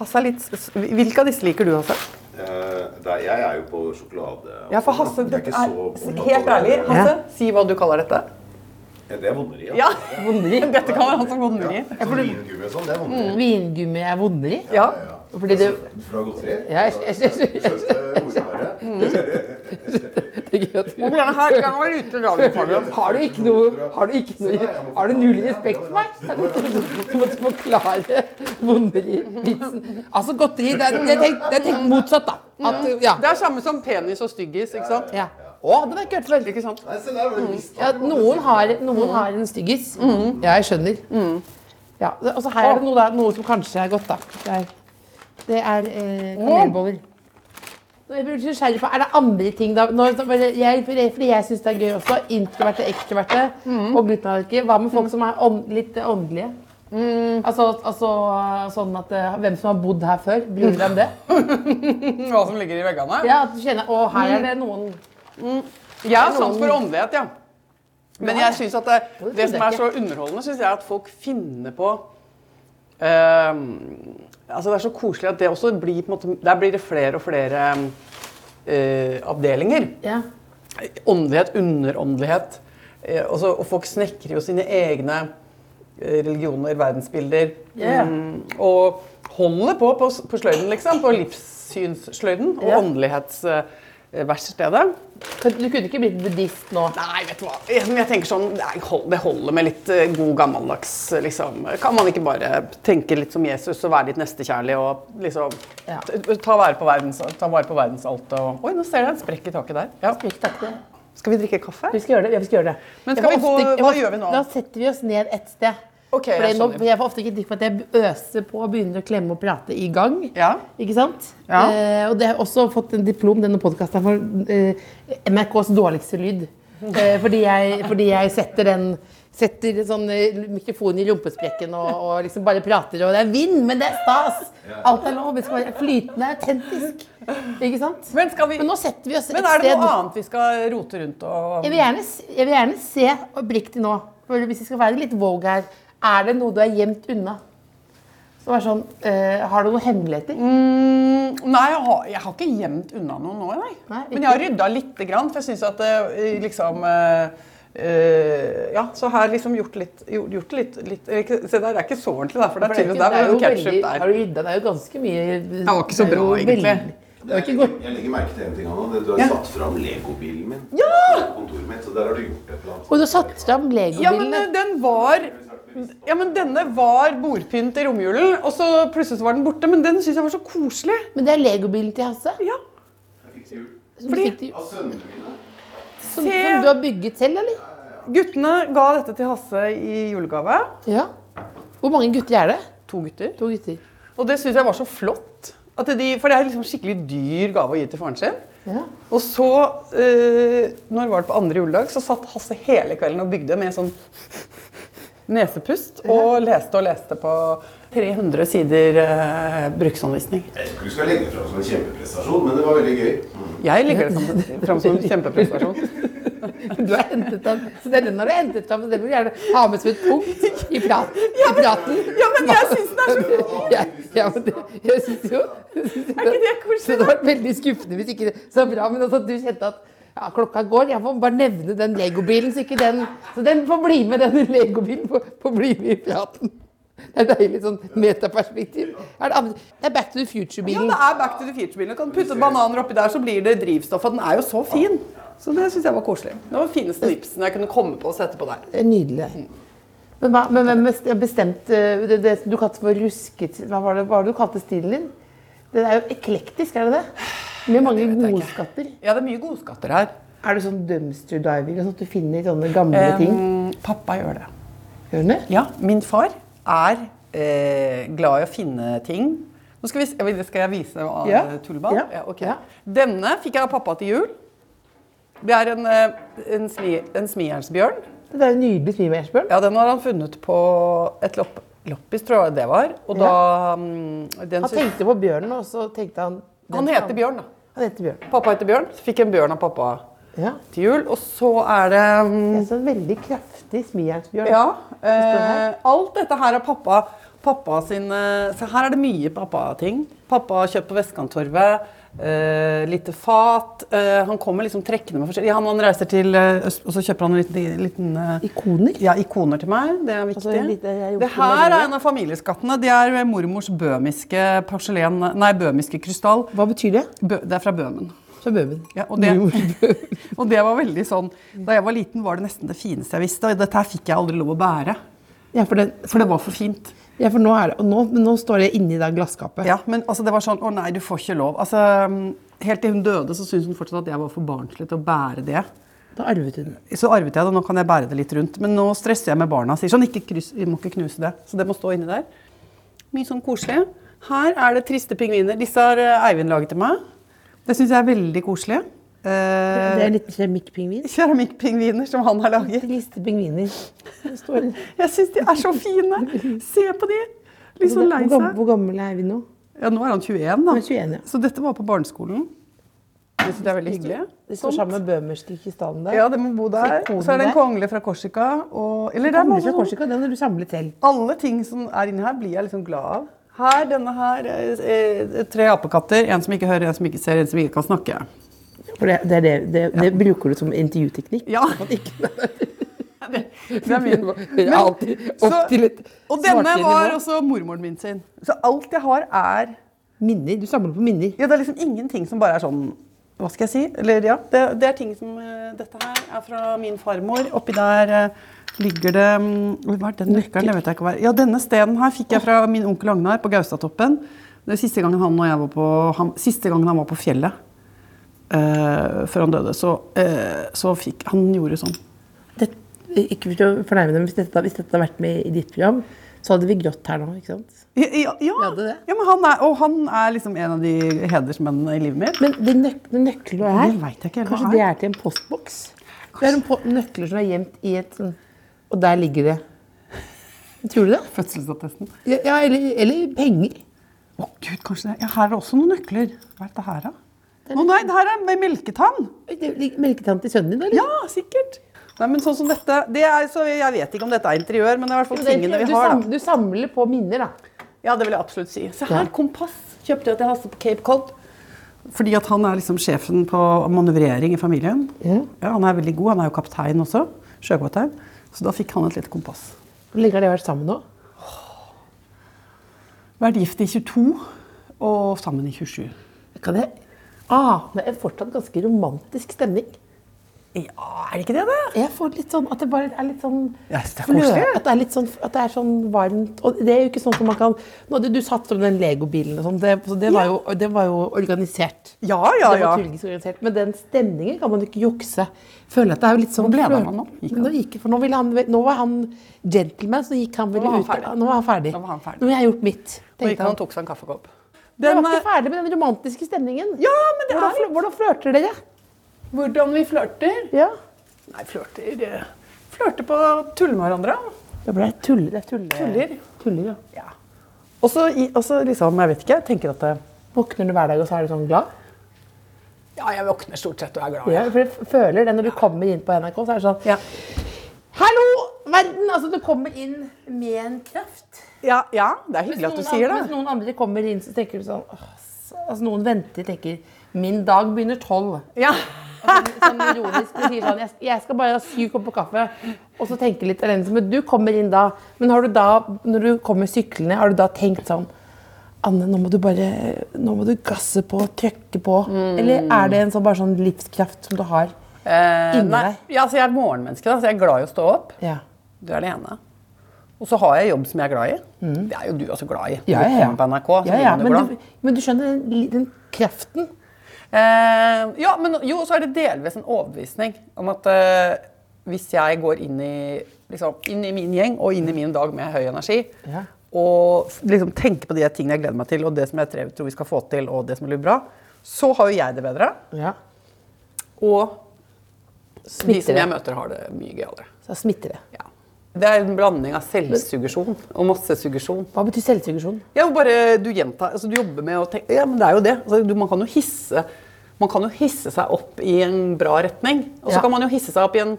Speaker 4: Hasse er litt s- Hvilke av disse liker du, Hasse?
Speaker 5: Eh, det er, jeg er jo på sjokolade.
Speaker 4: Ja, for Hasse,
Speaker 5: Jeg er
Speaker 4: dette
Speaker 5: ikke
Speaker 4: er
Speaker 5: så opptatt av
Speaker 4: Helt
Speaker 5: det.
Speaker 4: ærlig, Hasse, si hva du kaller dette.
Speaker 5: Ja, det er vonderi.
Speaker 4: Ja, vonderi. (laughs) Dette kaller han som vonderi.
Speaker 5: Sånn vingummi og sånn, det er vonderi.
Speaker 3: Vingummi er vonderi.
Speaker 4: Ja.
Speaker 3: Fordi det
Speaker 4: Mm.
Speaker 5: Fra godteri.
Speaker 3: Ja, jeg- jeg- jeg- jeg-
Speaker 5: Søs til (laughs) ordklare.
Speaker 4: Hvor blir denne her? Kan være ute radioprogram.
Speaker 3: Har du ikke noe Har du ikke noe Har du null respekt for meg? Du måtte forklare vonderivitsen. Altså godteri Det er, det er, tenkt, det er tenkt motsatt, da. At, ja.
Speaker 4: Det er samme som penis og styggis, ikke sant?
Speaker 3: ja. Å, den har jeg ikke hørt før.
Speaker 4: Ikke sant?
Speaker 5: Nei, se der var det visst.
Speaker 3: Mm. Ja, noen, har, noen har en styggis. Ja, jeg skjønner. Ja, det- altså her er det noe, da, noe som kanskje er godt, da. Det er, det er eh, kanelboller. Nå, Jeg blir så nysgjerrig på, Er det andre ting, da? Nå, da bare- jeg, fordi jeg syns det er gøy også. Introverte, ekstroverte og glutenallergiker. Hva med folk som er ånd, litt eh, åndelige? Altså, altså sånn at eh, Hvem som har bodd her før, bryr deg (laughs) om det?
Speaker 4: Hva som ligger i veggene.
Speaker 3: Ja, at du kjenner, Å, her er det noen
Speaker 4: Jeg har sans sånn for åndelighet, ja. Men jeg synes at det,
Speaker 3: trodde
Speaker 4: det som
Speaker 3: jeg
Speaker 4: er
Speaker 3: ikke.
Speaker 4: så underholdende, synes jeg er at folk finner på ehm, altså Det er så koselig at det også blir på en måte, Der blir det flere og flere ehm, eh, avdelinger.
Speaker 3: Ja.
Speaker 4: Åndelighet, underåndelighet. eh, og så- og folk snekrer jo sine egne eh, religioner, verdensbilder.
Speaker 3: Ja.
Speaker 4: mm, og holder på på, s- på sløyden, liksom. På livssynssløyden og
Speaker 3: Ja.
Speaker 4: åndelighetsverkstedet.
Speaker 3: Kan- Du kunne ikke blitt buddhist nå?
Speaker 4: Nei, vet du hva. Jeg, men jeg tenker sånn, nei, hold- Det holder med litt eh, god gammeldags, eh, liksom. Kan man ikke bare tenke litt som Jesus og være litt nestekjærlig og liksom
Speaker 3: Ja.
Speaker 4: t- ta, vare på verdens, ta vare på verdensaltet og Oi, nå ser jeg en sprekk i taket der. Ja.
Speaker 3: Ikke takk det.
Speaker 4: Skal vi drikke kaffe?
Speaker 3: Vi skal gjøre det. Ja, vi skal gjøre det.
Speaker 4: Men
Speaker 3: Jeg
Speaker 4: skal
Speaker 3: får
Speaker 4: vi gå-
Speaker 3: jeg
Speaker 4: hva
Speaker 3: får-
Speaker 4: gjør vi nå?
Speaker 3: Da setter vi oss ned et sted.
Speaker 4: Ok, jeg
Speaker 3: Fordi nå,
Speaker 4: skjønner.
Speaker 3: for jeg får ofte kritikk for at jeg øser på og begynner å klemme og prate i gang.
Speaker 4: Ja.
Speaker 3: Ikke sant?
Speaker 4: Ja.
Speaker 3: Eh, og det har jeg også fått en diplom, denne podkasten, for eh, MRKs dårligste lyd. Eh, fordi, jeg, fordi jeg setter den Setter sånn eh, mikrofon i rumpesprekken og, og liksom bare prater. Og det er vind, men det er stas! Alt er lov. Det skal være flytende, autentisk. Ikke sant?
Speaker 4: Men skal vi-
Speaker 3: nå setter vi oss et
Speaker 4: Men er det
Speaker 3: sted.
Speaker 4: noe annet vi skal rote rundt og
Speaker 3: Jeg vil gjerne, s- jeg vil gjerne se oppriktig nå, for hvis vi skal være litt vogue her, er det noe du er gjemt unna? Som er sånn, eh, Har du noen hemmeligheter?
Speaker 4: Mm, Nei, jeg har, jeg har ikke gjemt unna noe nå, nei.
Speaker 3: Nei, ikke.
Speaker 4: Men jeg har rydda lite grann, for jeg syns at eh, liksom eh, eh, ja, så har jeg liksom gjort litt, gjort gjort litt, litt eller ikke- Se der, det er ikke så ordentlig, der, for det er tydeligvis der var ketsjup
Speaker 3: veldig- har
Speaker 4: der.
Speaker 3: du rydda, det er jo ganske mye Det
Speaker 4: var ikke så
Speaker 3: er jo
Speaker 4: bra, egentlig.
Speaker 3: veldig- Det var
Speaker 5: Jeg,
Speaker 3: ikke godt.
Speaker 5: jeg legger merke til en ting, Anna. det- Du har
Speaker 4: Ja.
Speaker 5: satt fram legobilen min. På kontoret mitt, så der har du gjort et eller annet.
Speaker 3: Og du har satt fram
Speaker 4: Ja, men eh,
Speaker 3: legobilene.
Speaker 4: den var Ja, men denne var bordpynt i romjulen, og så plutselig så var den borte, men den syns jeg var så koselig.
Speaker 3: Men det er legobilen til Hasse.
Speaker 4: Ja.
Speaker 5: Jeg fikk til jul.
Speaker 3: Som,
Speaker 4: fordi-
Speaker 3: sitter-
Speaker 5: Av sønnene mine.
Speaker 3: som, som du har bygget selv, eller?
Speaker 4: Guttene ga dette til Hasse i julegave.
Speaker 3: Ja. Hvor mange gutter er det?
Speaker 4: To gutter.
Speaker 3: To gutter.
Speaker 4: Og det syns jeg var så flott. At de, for det er liksom skikkelig dyr gave å gi til faren sin.
Speaker 3: Ja.
Speaker 4: Og så, eh, når var det på andre juledag, så satt Hasse hele kvelden og bygde med sånn nesepust. Og leste og leste på 300 sider eh, bruksanvisning.
Speaker 5: Jeg tror ikke du skal legge det fram som en kjempeprestasjon, men det var veldig gøy. Mm.
Speaker 4: Jeg legger det fram- fram som en kjempeprestasjon.
Speaker 3: (laughs) Du har hentet den, så det er den har du hentet fram. så Den vil du gjerne ha med som et punkt i, prat, i praten.
Speaker 4: Ja, men jeg syns den er så
Speaker 3: (laughs) ja, ja, men det, jeg synes jo
Speaker 4: Er ikke det
Speaker 3: Det
Speaker 4: koselig?
Speaker 3: hadde vært veldig skuffende hvis ikke det så bra, men også at du kjente at ja, klokka går. Jeg får bare nevne den legobilen, så ikke den Så den får bli med, den legobilen får, får bli med i praten. Det er deilig sånn metaperspektiv. Er det, andre, det er Back to the
Speaker 4: Ja,
Speaker 3: Future-bilen.
Speaker 4: det er Back to the Future-bilen. Du kan putte bananer oppi der, så blir det drivstoff. Og den er jo så fin. Så det syns jeg var koselig. Det var den fineste vipsen jeg kunne komme på å sette på der.
Speaker 3: Det er Nydelig. Men hva- men hvem best- bestemte eh, det, det som du kalte for rusket Hva var det, hva var det du kalte stilen din? Det er jo eklektisk, er det det? Med mange godskatter.
Speaker 4: Ja, det er mye godskatter her.
Speaker 3: Er det sånn dumpster diving? Sånn at du finner sånne gamle ting?
Speaker 4: Mm, Pappa gjør det.
Speaker 3: Gjør den det?
Speaker 4: Ja, min far er eh, glad i å finne ting. Nå skal, vi, se- jeg vet- skal jeg vise deg hva
Speaker 3: Ja.
Speaker 4: eh, tulleball?
Speaker 3: Ja.
Speaker 4: ok.
Speaker 3: Ja.
Speaker 4: Denne fikk jeg av pappa til jul. Det er en, eh, en, smi, en smijernsbjørn.
Speaker 3: Det er jo nydelig svime, Esbjørn.
Speaker 4: Ja, den har han funnet på et lopp, loppis, tror jeg det var. Og da mm, den
Speaker 3: Han
Speaker 4: syns-
Speaker 3: tenkte på bjørnen, og så tenkte han den
Speaker 4: Han
Speaker 3: skal
Speaker 4: heter Bjørn, da.
Speaker 3: Han heter Bjørn.
Speaker 4: Pappa heter Bjørn. Så fikk jeg en bjørn av pappa.
Speaker 3: Ja.
Speaker 4: til jul. Og så er det mm,
Speaker 3: Så veldig kraftig smijernsbjørn.
Speaker 4: Ja.
Speaker 3: her.
Speaker 4: Eh, alt dette her er pappa, pappa sin eh, Se, her er det mye pappating. Pappa har kjøpt på Vestkanttorvet. Eh, lite fat. Eh, han kommer liksom trekkende med forskjellig. Han, han reiser til eh, øst, og så kjøper han en liten, liten eh,
Speaker 3: Ikoner.
Speaker 4: ja, ikoner til meg. Det er viktig.
Speaker 3: Altså, en liten- jeg har gjort det
Speaker 4: det
Speaker 3: med
Speaker 4: her er
Speaker 3: vilje.
Speaker 4: en av familieskattene. Det er mormors bømiske porselen... Nei, bømiske krystall.
Speaker 3: Hva betyr det?
Speaker 4: Bø, det er fra Bøhmen.
Speaker 3: Fra Bøhmen.
Speaker 4: Ja, og, det,
Speaker 3: Mormors
Speaker 4: (laughs) og det var veldig sånn Da jeg var liten, var det nesten det fineste jeg visste. Og dette her fikk jeg aldri lov å bære.
Speaker 3: Ja, for, det,
Speaker 4: For det var for fint.
Speaker 3: ja, for nå, er det, og nå, men nå står det inni det glasskapet.
Speaker 4: Ja, Men altså, det var sånn Å nei, du får ikke lov. Altså, helt til hun døde, så syntes hun fortsatt at jeg var for barnslig til å bære det.
Speaker 3: Da arvet hun den.
Speaker 4: Så arvet jeg det, og nå kan jeg bære det litt rundt. Men nå stresser jeg med barna og sier sånn ikke kryss, Vi må ikke knuse det. Så det må stå inni der. Mye sånn koselig. Her er det triste pingviner. Disse har eh, Eivind laget til meg. Det syns jeg er veldig koselig. Eh,
Speaker 3: Det er en liten keramikkpingvin.
Speaker 4: Keramikkpingviner som han har laget.
Speaker 3: Liste pingviner. Det står- (laughs)
Speaker 4: Jeg syns de er så fine! Se på de! Litt
Speaker 3: Hvor
Speaker 4: sånn lei
Speaker 3: gammel,
Speaker 4: seg.
Speaker 3: hvor gammel er vi nå?
Speaker 4: Ja, nå er han 21, da.
Speaker 3: Han er 21, ja.
Speaker 4: Så dette var på barneskolen. Jeg synes det er veldig hyggelig.
Speaker 3: Det står
Speaker 4: Sånt.
Speaker 3: sammen med bøhmerske kristallen der.
Speaker 4: Ja, det må bo der.
Speaker 3: Ser koden
Speaker 4: Så er det en
Speaker 3: der.
Speaker 4: kongle fra Korsika. Og, eller det er
Speaker 3: Gamle
Speaker 4: masse
Speaker 3: fra
Speaker 4: sånn-
Speaker 3: Korsika, den har du samlet selv.
Speaker 4: Alle ting som er inni her, blir jeg liksom glad av. Her, denne her. eh, eh, Tre apekatter. En som ikke hører, en som ikke ser, en som ikke kan snakke.
Speaker 3: For det, det, er det, det, det bruker du som intervjuteknikk.
Speaker 4: Ja.
Speaker 3: (laughs) At ikke
Speaker 4: Det er min.
Speaker 3: (laughs) Det er alltid opp til et
Speaker 4: og denne
Speaker 3: smartere
Speaker 4: var
Speaker 3: nivå.
Speaker 4: også mormoren min sin. Så alt jeg har, er
Speaker 3: Minner. Du samler på minner.
Speaker 4: Ja, det er liksom ingenting som bare er sånn Hva skal jeg si? Eller ja, det, det er ting som eh, Dette her er fra min farmor. Oppi der eh, ligger det mm, Hva er den nøkkelen? Jeg vet ikke hva er. Ja, denne stenen her fikk jeg fra min onkel Agnar på Gaustatoppen. Det var siste gangen han og jeg var på, han, siste gangen han var på fjellet. eh, før han døde, så, eh, så fikk Han gjorde sånn.
Speaker 3: Det, ikke for å fornærme dem, hvis dette, hvis dette hadde vært med i ditt program, så hadde vi grått her nå, ikke sant?
Speaker 4: Ja, ja, ja.
Speaker 3: hadde det.
Speaker 4: ja men han er, og han er liksom en av de hedersmennene i livet mitt.
Speaker 3: Men den nøk den nøkkelen du har
Speaker 4: Det vet jeg ikke helt hva
Speaker 3: kanskje
Speaker 4: er.
Speaker 3: det er til en postboks? Det er en po nøkler som er gjemt i et sånn Og der ligger det Tror du det?
Speaker 4: Fødselsattesten.
Speaker 3: Ja, ja eller, eller penger.
Speaker 4: Å gud, kanskje det. Ja, her er det også noen nøkler. Hva er dette her, da? Å nei, det her er med melketann!
Speaker 3: Det ligger- Melketann til sønnen din, eller?
Speaker 4: Ja, sikkert. Nei, men sånn som dette det er, så Jeg vet ikke om dette er interiør, men det er i hvert fall
Speaker 3: Det er ikke-
Speaker 4: tingene vi
Speaker 3: du,
Speaker 4: har.
Speaker 3: sam-
Speaker 4: da.
Speaker 3: du samler på minner, da.
Speaker 4: Ja, det vil jeg absolutt si. Se
Speaker 3: Ja.
Speaker 4: her, kompass kjøpte jeg til Hasse på Cape Cod. Fordi at han er liksom sjefen på manøvrering i familien.
Speaker 3: Ja.
Speaker 4: Han er veldig god. Han er jo kaptein også. Sjøkaptein. Så da fikk han et lite kompass.
Speaker 3: Hvor lenge har de vært sammen nå?
Speaker 4: Vært gift i 22 og sammen i 27.
Speaker 3: Kan jeg ane en Ah, fortsatt ganske romantisk stemning?
Speaker 4: Ja, er det ikke det, det?
Speaker 3: Jeg får litt sånn at det bare er litt sånn
Speaker 4: Jeg synes det er
Speaker 3: flø-
Speaker 4: koselig, jeg.
Speaker 3: At det er litt sånn, at det er sånn varmt. Og det er jo ikke sånn som man kan Nå hadde du satt som den Lego-bilen og sånn, det, så det, var jo, det var jo organisert.
Speaker 4: Ja, ja,
Speaker 3: Det
Speaker 4: ja.
Speaker 3: var turgisk organisert. Men den stemningen kan man jo ikke jukse. Føler at det er jo litt sånn
Speaker 4: Hvor ble det av
Speaker 3: flø-
Speaker 4: han nå? Gikk han?
Speaker 3: Nå, gikk, for nå, ville han, nå var han gentleman, så gikk han vel
Speaker 4: Nå var han
Speaker 3: ut
Speaker 4: ferdig.
Speaker 3: Nå var han ferdig.
Speaker 4: Nå var han ferdig.
Speaker 3: Nå har jeg gjort mitt.
Speaker 4: Og gikk
Speaker 3: tenkte
Speaker 4: han
Speaker 3: han.
Speaker 4: og tok seg en kaffekopp.
Speaker 3: Jeg
Speaker 4: Den
Speaker 3: var
Speaker 4: er-
Speaker 3: ikke ferdig med den romantiske stemningen.
Speaker 4: Ja, men det
Speaker 3: hvordan,
Speaker 4: er
Speaker 3: flø- hvordan flørter dere?
Speaker 4: Hvordan vi flørter?
Speaker 3: Ja.
Speaker 4: Nei, flørter eh, Flørter på å tulle med hverandre.
Speaker 3: Det ble tull, det er tull,
Speaker 4: Tuller.
Speaker 3: tuller, ja.
Speaker 4: Ja. Og så i- og så liksom, jeg vet ikke, jeg tenker at eh,
Speaker 3: Våkner du hver dag og så er du sånn glad?
Speaker 4: Ja, jeg våkner stort sett og er glad.
Speaker 3: Ja, for jeg føler det når du kommer inn på NRK, så er det sånn
Speaker 4: Ja.
Speaker 3: Hallo, verden! Altså, du kommer inn med en kraft.
Speaker 4: Ja, ja, det er hyggelig at du
Speaker 3: Hvis noen
Speaker 4: sier
Speaker 3: andre- Hvis
Speaker 4: det.
Speaker 3: noen andre kommer inn, så tenker du sånn «Åh, s- Altså, noen venter tenker Min dag begynner tolv.
Speaker 4: Ja.
Speaker 3: Sånn ironisk. Du sier sånn jeg, jeg skal bare ha syv kopper kaffe. Og så tenke litt alene. Men du kommer inn da. Men har du da, når du kommer syklende, har du da tenkt sånn Anne, nå må du bare Nå må du gasse på, trykke på. Eller er det en sånn, bare sånn livskraft som du har
Speaker 4: Eh,
Speaker 3: inni
Speaker 4: nei,
Speaker 3: deg?
Speaker 4: ja, så jeg er et morgenmenneske, da, så jeg er glad i å stå opp.
Speaker 3: Ja.
Speaker 4: Du er det ene. Og så har jeg jobb som jeg er glad i. Det er jo du også glad i.
Speaker 3: Mm. Ja,
Speaker 4: Når
Speaker 3: ja,
Speaker 4: du
Speaker 3: ja.
Speaker 4: kommer på NRK, så
Speaker 3: ja,
Speaker 4: blir
Speaker 3: ja,
Speaker 4: man jo
Speaker 3: men,
Speaker 4: glad.
Speaker 3: du, men du skjønner den, den kraften?
Speaker 4: Eh, ja, men jo, så er det delvis en overbevisning om at eh, hvis jeg går inn i, liksom, inn i min gjeng og inn i min dag med høy energi,
Speaker 3: Ja.
Speaker 4: og f- liksom tenker på de tingene jeg gleder meg til, og det som jeg tre- tror vi skal få til, og det som blir bra, så har jo jeg det bedre.
Speaker 3: Ja.
Speaker 4: Og de
Speaker 3: Smitter
Speaker 4: som jeg
Speaker 3: det.
Speaker 4: møter, har det mye gøyere.
Speaker 3: Så smitter det.
Speaker 4: Ja. Det er en blanding av selvsuggesjon og massesuggesjon.
Speaker 3: Hva betyr selvsuggesjon?
Speaker 4: Ja, og bare du gjentar, altså du jobber med å tenke, ja, men det er jo det. Altså, du, man kan jo hisse Man kan jo hisse seg opp i en bra retning, og så
Speaker 3: Ja.
Speaker 4: kan man jo hisse seg opp i en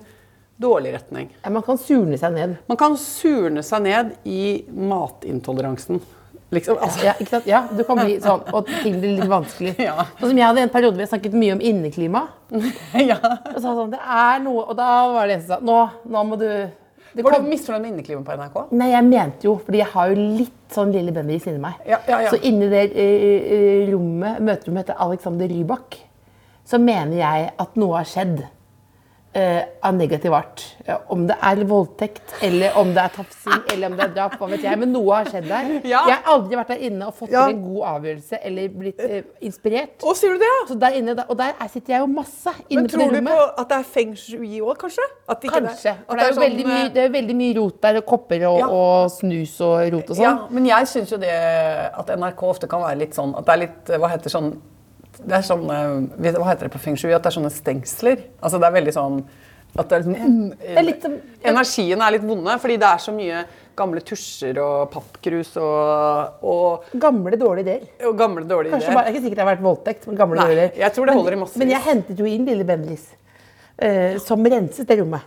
Speaker 4: dårlig retning.
Speaker 3: Ja, man kan surne seg ned.
Speaker 4: Man kan surne seg ned i matintoleransen. Liksom, altså,
Speaker 3: Ja, ikke sant? ja, du kan bli sånn, og ting blir litt vanskelig. (laughs)
Speaker 4: Ja.
Speaker 3: Sånn som Jeg hadde en periode hvor jeg snakket mye om inneklima.
Speaker 4: (laughs) ja.
Speaker 3: Og sa sånn, det er noe, og da var det en som sa nå, nå må du det
Speaker 4: Var
Speaker 3: kom,
Speaker 4: du misfornøyd med inneklimaet på NRK?
Speaker 3: Nei, jeg mente jo, fordi jeg har jo litt sånn Lille Bendriss inni meg.
Speaker 4: Ja, ja, ja.
Speaker 3: Så inni det eh, eh, rommet, møterommet heter Alexander Rybak, så mener jeg at noe har skjedd eh, av negativ art. Ja, Om det er voldtekt, eller om det er tafsing, eller om det er drap, hva vet jeg. Men noe har skjedd der.
Speaker 4: Ja.
Speaker 3: Jeg har aldri vært der inne og fått
Speaker 4: Ja.
Speaker 3: til en god avgjørelse eller blitt eh, inspirert.
Speaker 4: Å, sier du det? ja?
Speaker 3: Så der inne, og der sitter jeg jo masse inne
Speaker 4: Men
Speaker 3: på det
Speaker 4: tror du
Speaker 3: rommet.
Speaker 4: på at det er feng shui òg, kanskje? At ikke
Speaker 3: Kanskje. For det er jo
Speaker 4: sånn,
Speaker 3: veldig, mye, det er jo veldig mye rot der, og kopper og,
Speaker 4: Ja.
Speaker 3: og snus og rot og
Speaker 4: Ja,
Speaker 3: sånn.
Speaker 4: men jeg syns jo det at NRK ofte kan være litt sånn at det er litt eh, Hva heter sånn det er sånn, eh, vet du Hva heter det på feng shui? At det er sånne stengsler. Altså det er veldig sånn at det er, sånn,
Speaker 3: er litt som-
Speaker 4: Energien er litt vonde, fordi det er så mye gamle tusjer og pappkrus og, og,
Speaker 3: Gamle, dårlige ideer.
Speaker 4: og gamle, dårlige
Speaker 3: Kanskje bare,
Speaker 4: ideer.
Speaker 3: det er ikke sikkert det har vært voldtekt, men gamle
Speaker 4: Nei,
Speaker 3: dårlige ideer.
Speaker 4: jeg tror det holder i
Speaker 3: men,
Speaker 4: massevis.
Speaker 3: Men jeg hentet jo inn Lille Bendriss, eh, som renset det rommet.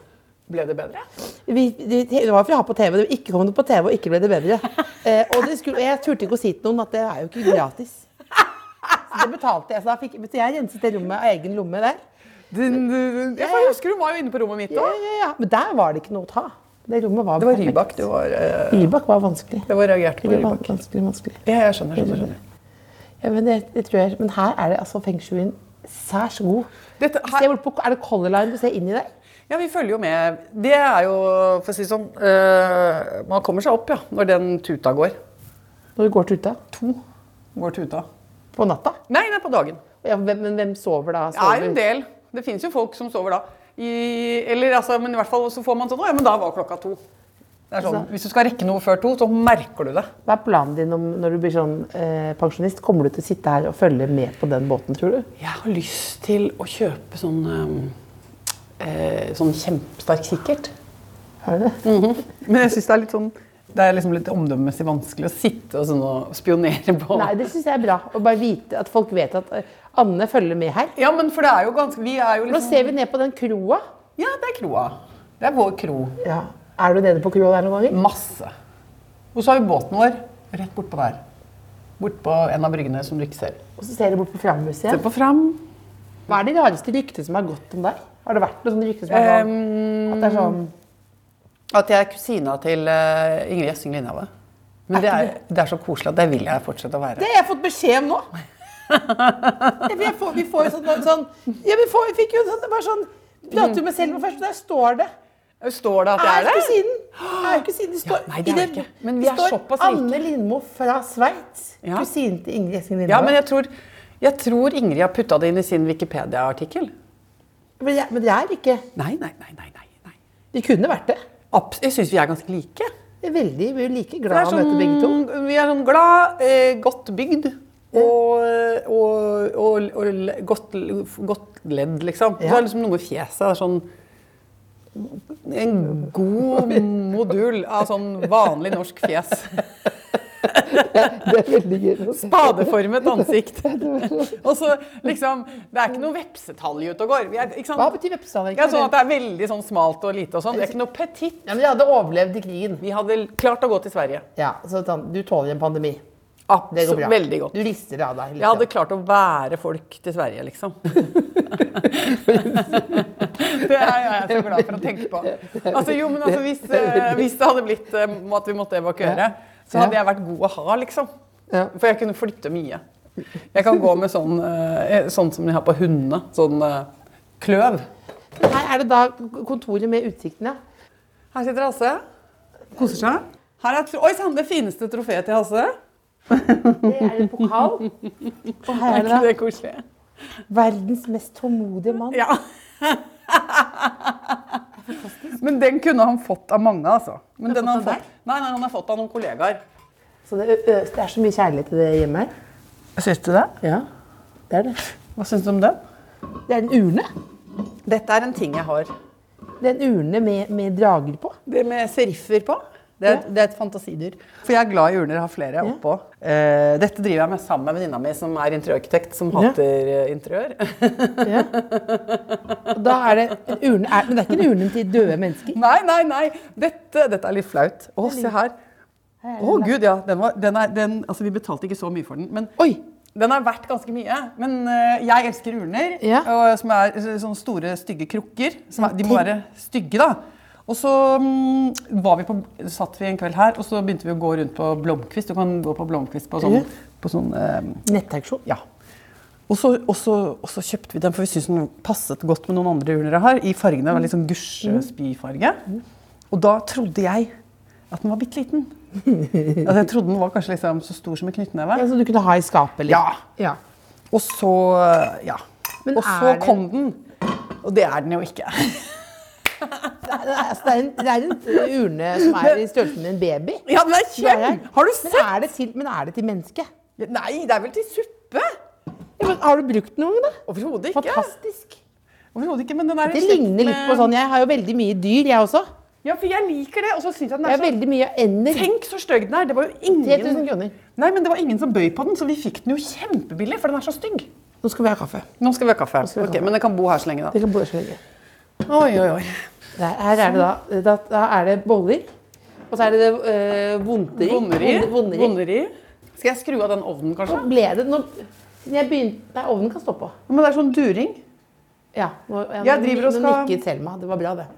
Speaker 4: Ble det bedre?
Speaker 3: Vi, de, det var for å ha på TV. Det ikke kom det på TV, og ikke ble det bedre. Eh, og, det skulle, og jeg turte ikke å si til noen at det er jo ikke gratis. Så det betalte jeg. Så, da fikk, så jeg renset det rommet av egen lomme der.
Speaker 4: Den, den, jeg
Speaker 3: ja.
Speaker 4: husker hun var jo inne på rommet mitt
Speaker 3: Ja,
Speaker 4: òg.
Speaker 3: ja, ja. Men der var det ikke noe å ta. Det rommet var
Speaker 4: Det var
Speaker 3: perfekt.
Speaker 4: Rybak du var eh,
Speaker 3: Rybak var vanskelig.
Speaker 4: Det var reagert på
Speaker 3: Rybak var
Speaker 4: Rybak.
Speaker 3: vanskelig, vanskelig.
Speaker 4: Ja, jeg skjønner. skjønner, skjønner.
Speaker 3: Ja, men, det, det tror jeg, men her er det altså feng shuien særs god.
Speaker 4: Dette her-
Speaker 3: Se bort på, er det Color Line du ser inn i der?
Speaker 4: Ja, vi følger jo med. Det er jo, for å si det sånn, eh, man kommer seg opp ja, når den tuta går.
Speaker 3: Når du går tuta?
Speaker 4: To går tuta.
Speaker 3: På natta?
Speaker 4: Nei, det er på dagen.
Speaker 3: Ja, hvem, men hvem sover da?
Speaker 4: Det er
Speaker 3: Sover?
Speaker 4: en del. Det finnes jo folk som sover da. I, eller altså, men i hvert fall så får man sånn, «Å, ja, men da var klokka to. Det er sånn,
Speaker 3: Altså-
Speaker 4: hvis du skal rekke noe før to, så merker du det.
Speaker 3: Hva er planen din om, når du blir sånn eh, pensjonist? Kommer du til å sitte her og følge med på den båten, tror du?
Speaker 4: Jeg har lyst til å kjøpe sånn, eh, eh, sånn kjempesterk kikkert.
Speaker 3: Har du det?
Speaker 4: Men jeg synes det er litt sånn, det er liksom litt omdømmemessig vanskelig å sitte og, sånn, og spionere på.
Speaker 3: Nei, det syns jeg er bra. Å bare vite at folk vet at eh, Anne følger med her.
Speaker 4: Ja, men for det er jo ganske Vi er jo
Speaker 3: Nå
Speaker 4: liksom
Speaker 3: ser vi ned på den kroa.
Speaker 4: Ja, det er kroa. Det er vår kro.
Speaker 3: Ja. Er du nede på kroa der noen ganger?
Speaker 4: Masse. Og så har vi båten vår rett bortpå der. Bortpå en av bryggene som du ikke ser.
Speaker 3: Og så ser du bort på framhuset
Speaker 4: Se
Speaker 3: igjen.
Speaker 4: på fram.
Speaker 3: Hva er de rareste ryktene som har gått om deg? Har det vært noe sånt rykte som er sånn, at det er sånn
Speaker 4: Ehm, At jeg er kusina til eh, Ingrid Gjessing Lindhave. Men det er, det er så koselig at det vil jeg fortsette å være.
Speaker 3: Det har jeg fått beskjed om nå. Ja, for Jeg får, vi får jo sånn, sånn ja, vi, får, vi fikk jo sånn, bare sånn Prater jo med Selma først, og der står det.
Speaker 4: Står det at jeg
Speaker 3: Er
Speaker 4: er det?
Speaker 3: kusinen! Er kusinen. Det står,
Speaker 4: Ja, nei, det er
Speaker 3: i
Speaker 4: det ikke. Men vi
Speaker 3: det
Speaker 4: er
Speaker 3: står
Speaker 4: såpass rike.
Speaker 3: Anne Lindmo fra Sveits.
Speaker 4: Ja.
Speaker 3: Kusinen til Ingrid Gjessing Lindmo.
Speaker 4: Ja, men jeg tror, jeg tror Ingrid har putta det inn i sin Wikipedia-artikkel.
Speaker 3: men, jeg- men det er ikke
Speaker 4: Nei, nei, nei, nei. nei, nei.
Speaker 3: Det kunne vært det.
Speaker 4: Abs- Jeg syns vi er ganske like.
Speaker 3: Jeg er veldig vi er like
Speaker 4: Det
Speaker 3: glad
Speaker 4: er
Speaker 3: å møte begge to.
Speaker 4: sånn, vi er sånn glad, eh, godt bygd og, eh, og, og, og le- godt, godt ledd, liksom.
Speaker 3: Ja.
Speaker 4: Det er liksom noe med fjeset. Det er sånn en god modul av sånn vanlig norsk fjes.
Speaker 3: Det er veldig gøy. å se.
Speaker 4: Spadeformet ansikt. Og så liksom Det er ikke noe vepsetalje ute og går. Vi er, ikke sant?
Speaker 3: Hva betyr vepsetalje?
Speaker 4: Ja, sånn at det er veldig sånn smalt og lite og sånn. Det er ikke noe petit.
Speaker 3: Ja, men de hadde overlevd i krigen.
Speaker 4: Vi hadde klart å gå til Sverige.
Speaker 3: Ja, så sånn, Du tåler en pandemi. Det går
Speaker 4: Absolutt.
Speaker 3: bra.
Speaker 4: Veldig godt.
Speaker 3: Du rister av deg. litt.
Speaker 4: Jeg hadde klart å være folk til Sverige, liksom. det er jeg så glad for å tenke på. Altså, jo, men altså, hvis, eh, hvis det hadde blitt eh, at vi måtte evakuere, så hadde jeg vært god å ha, liksom.
Speaker 3: Ja.
Speaker 4: For jeg kunne flytte mye. Jeg kan gå med sånn, eh, sånn som de har på hundene. Sånn eh, kløv.
Speaker 3: Her er det da kontoret med utsikten, ja.
Speaker 4: Her sitter Hasse. Koser seg. Her er, tro- Oi sann, det fineste trofeet til Hasse.
Speaker 3: Det er en pokal. Og her
Speaker 4: Er
Speaker 3: er det da
Speaker 4: ikke det koselig?
Speaker 3: verdens mest tålmodige mann.
Speaker 4: Ja. Men den kunne han fått av mange, altså. Men den har han, fått, nei, nei, han har fått av noen kollegaer.
Speaker 3: Så det, ø- ø- det er så mye kjærlighet i det hjemmet her.
Speaker 4: Syns du det?
Speaker 3: Ja, det er det.
Speaker 4: Hva syns du om den?
Speaker 3: Det er en urne.
Speaker 4: Dette er en ting jeg har.
Speaker 3: Det er en urne med, med drager på.
Speaker 4: Det med seriffer på. Det er, det er et fantasidyr. For jeg er glad i urner, har flere oppå. Eh, dette driver jeg med sammen med venninna mi som er interiørarkitekt, som
Speaker 3: Ja.
Speaker 4: hater eh, interiør.
Speaker 3: Ja. Og da er det en urne er, Men det er ikke en urne til døde mennesker?
Speaker 4: (laughs) nei, nei, nei! Dette, dette er litt flaut. Å, se her. Å, gud, ja. Den var, den er, den, altså, vi betalte ikke så mye for den, men
Speaker 3: Oi!
Speaker 4: den er verdt ganske mye. Men eh, jeg elsker urner,
Speaker 3: Ja.
Speaker 4: og, som er så- sånne store, stygge krukker. Som er, de må være stygge, da. Og så mm, var vi på, satt vi en kveld her, og så begynte vi å gå rundt på Blomkvist. Du kan gå på Blomkvist på sånn,
Speaker 3: Ja.
Speaker 4: på sånn eh,
Speaker 3: Nettauksjon.
Speaker 4: Ja. Og så, og, så, og så kjøpte vi den, for vi syntes den passet godt med noen andre urner jeg har. I fargene. Det var Litt sånn gusjespyfarge. Og da trodde jeg at den var bitte liten. Altså, jeg trodde den var kanskje liksom så stor som en knyttneve.
Speaker 3: Ja, som Altså, du kunne ha i skapet? eller?
Speaker 4: Ja.
Speaker 3: ja.
Speaker 4: Og så Ja.
Speaker 3: Men
Speaker 4: og
Speaker 3: er
Speaker 4: så
Speaker 3: det-
Speaker 4: kom den. Og det er den jo ikke.
Speaker 3: Det er, altså, det, er en, det er en urne som er i størrelsen med en baby.
Speaker 4: (laughs) Ja, den er
Speaker 3: Det er
Speaker 4: kjempe...
Speaker 3: det.
Speaker 4: Har du
Speaker 3: men
Speaker 4: sett?
Speaker 3: Er det til, men er det til menneske?
Speaker 4: Nei, det er vel til suppe?
Speaker 3: Ja, men har du brukt den noen gang? da?
Speaker 4: Overhodet ikke.
Speaker 3: Fantastisk.
Speaker 4: Overhodet ikke, men den er i
Speaker 3: Det
Speaker 4: slekt
Speaker 3: ligner litt på
Speaker 4: med-
Speaker 3: sånn Jeg har jo veldig mye dyr, jeg også.
Speaker 4: Ja, for jeg liker det. Og så syns jeg den
Speaker 3: Jeg
Speaker 4: er
Speaker 3: har
Speaker 4: så
Speaker 3: veldig mye ender.
Speaker 4: Tenk så stygg den er! Det var jo ingen
Speaker 3: 3000 kroner.
Speaker 4: Nei, men det var ingen som bøy på den, så vi fikk den jo kjempebillig, for den er så stygg.
Speaker 3: Nå skal vi ha kaffe.
Speaker 4: Nå skal vi ha kaffe.
Speaker 3: skal vi ha
Speaker 4: Ok,
Speaker 3: kaffe.
Speaker 4: men jeg kan bo her så lenge, da.
Speaker 3: Dere kan bo her så lenge.
Speaker 4: Oi, oi, oi.
Speaker 3: Der, her er det
Speaker 4: Sånn.
Speaker 3: da, da, da er det boller. Og så er det det øh, vondteri.
Speaker 4: Vonderi.
Speaker 3: Vond- vonderi.
Speaker 4: Vonderi. Skal jeg skru av den ovnen, kanskje?
Speaker 3: Nå ble det nå, siden jeg begynte, Nei, ovnen kan stå på.
Speaker 4: Men det er sånn during.
Speaker 3: Ja, nå, ja,
Speaker 4: Jeg
Speaker 3: nå-
Speaker 4: driver og
Speaker 3: Nå
Speaker 4: skal-
Speaker 3: nikket Selma. Det var bra, det.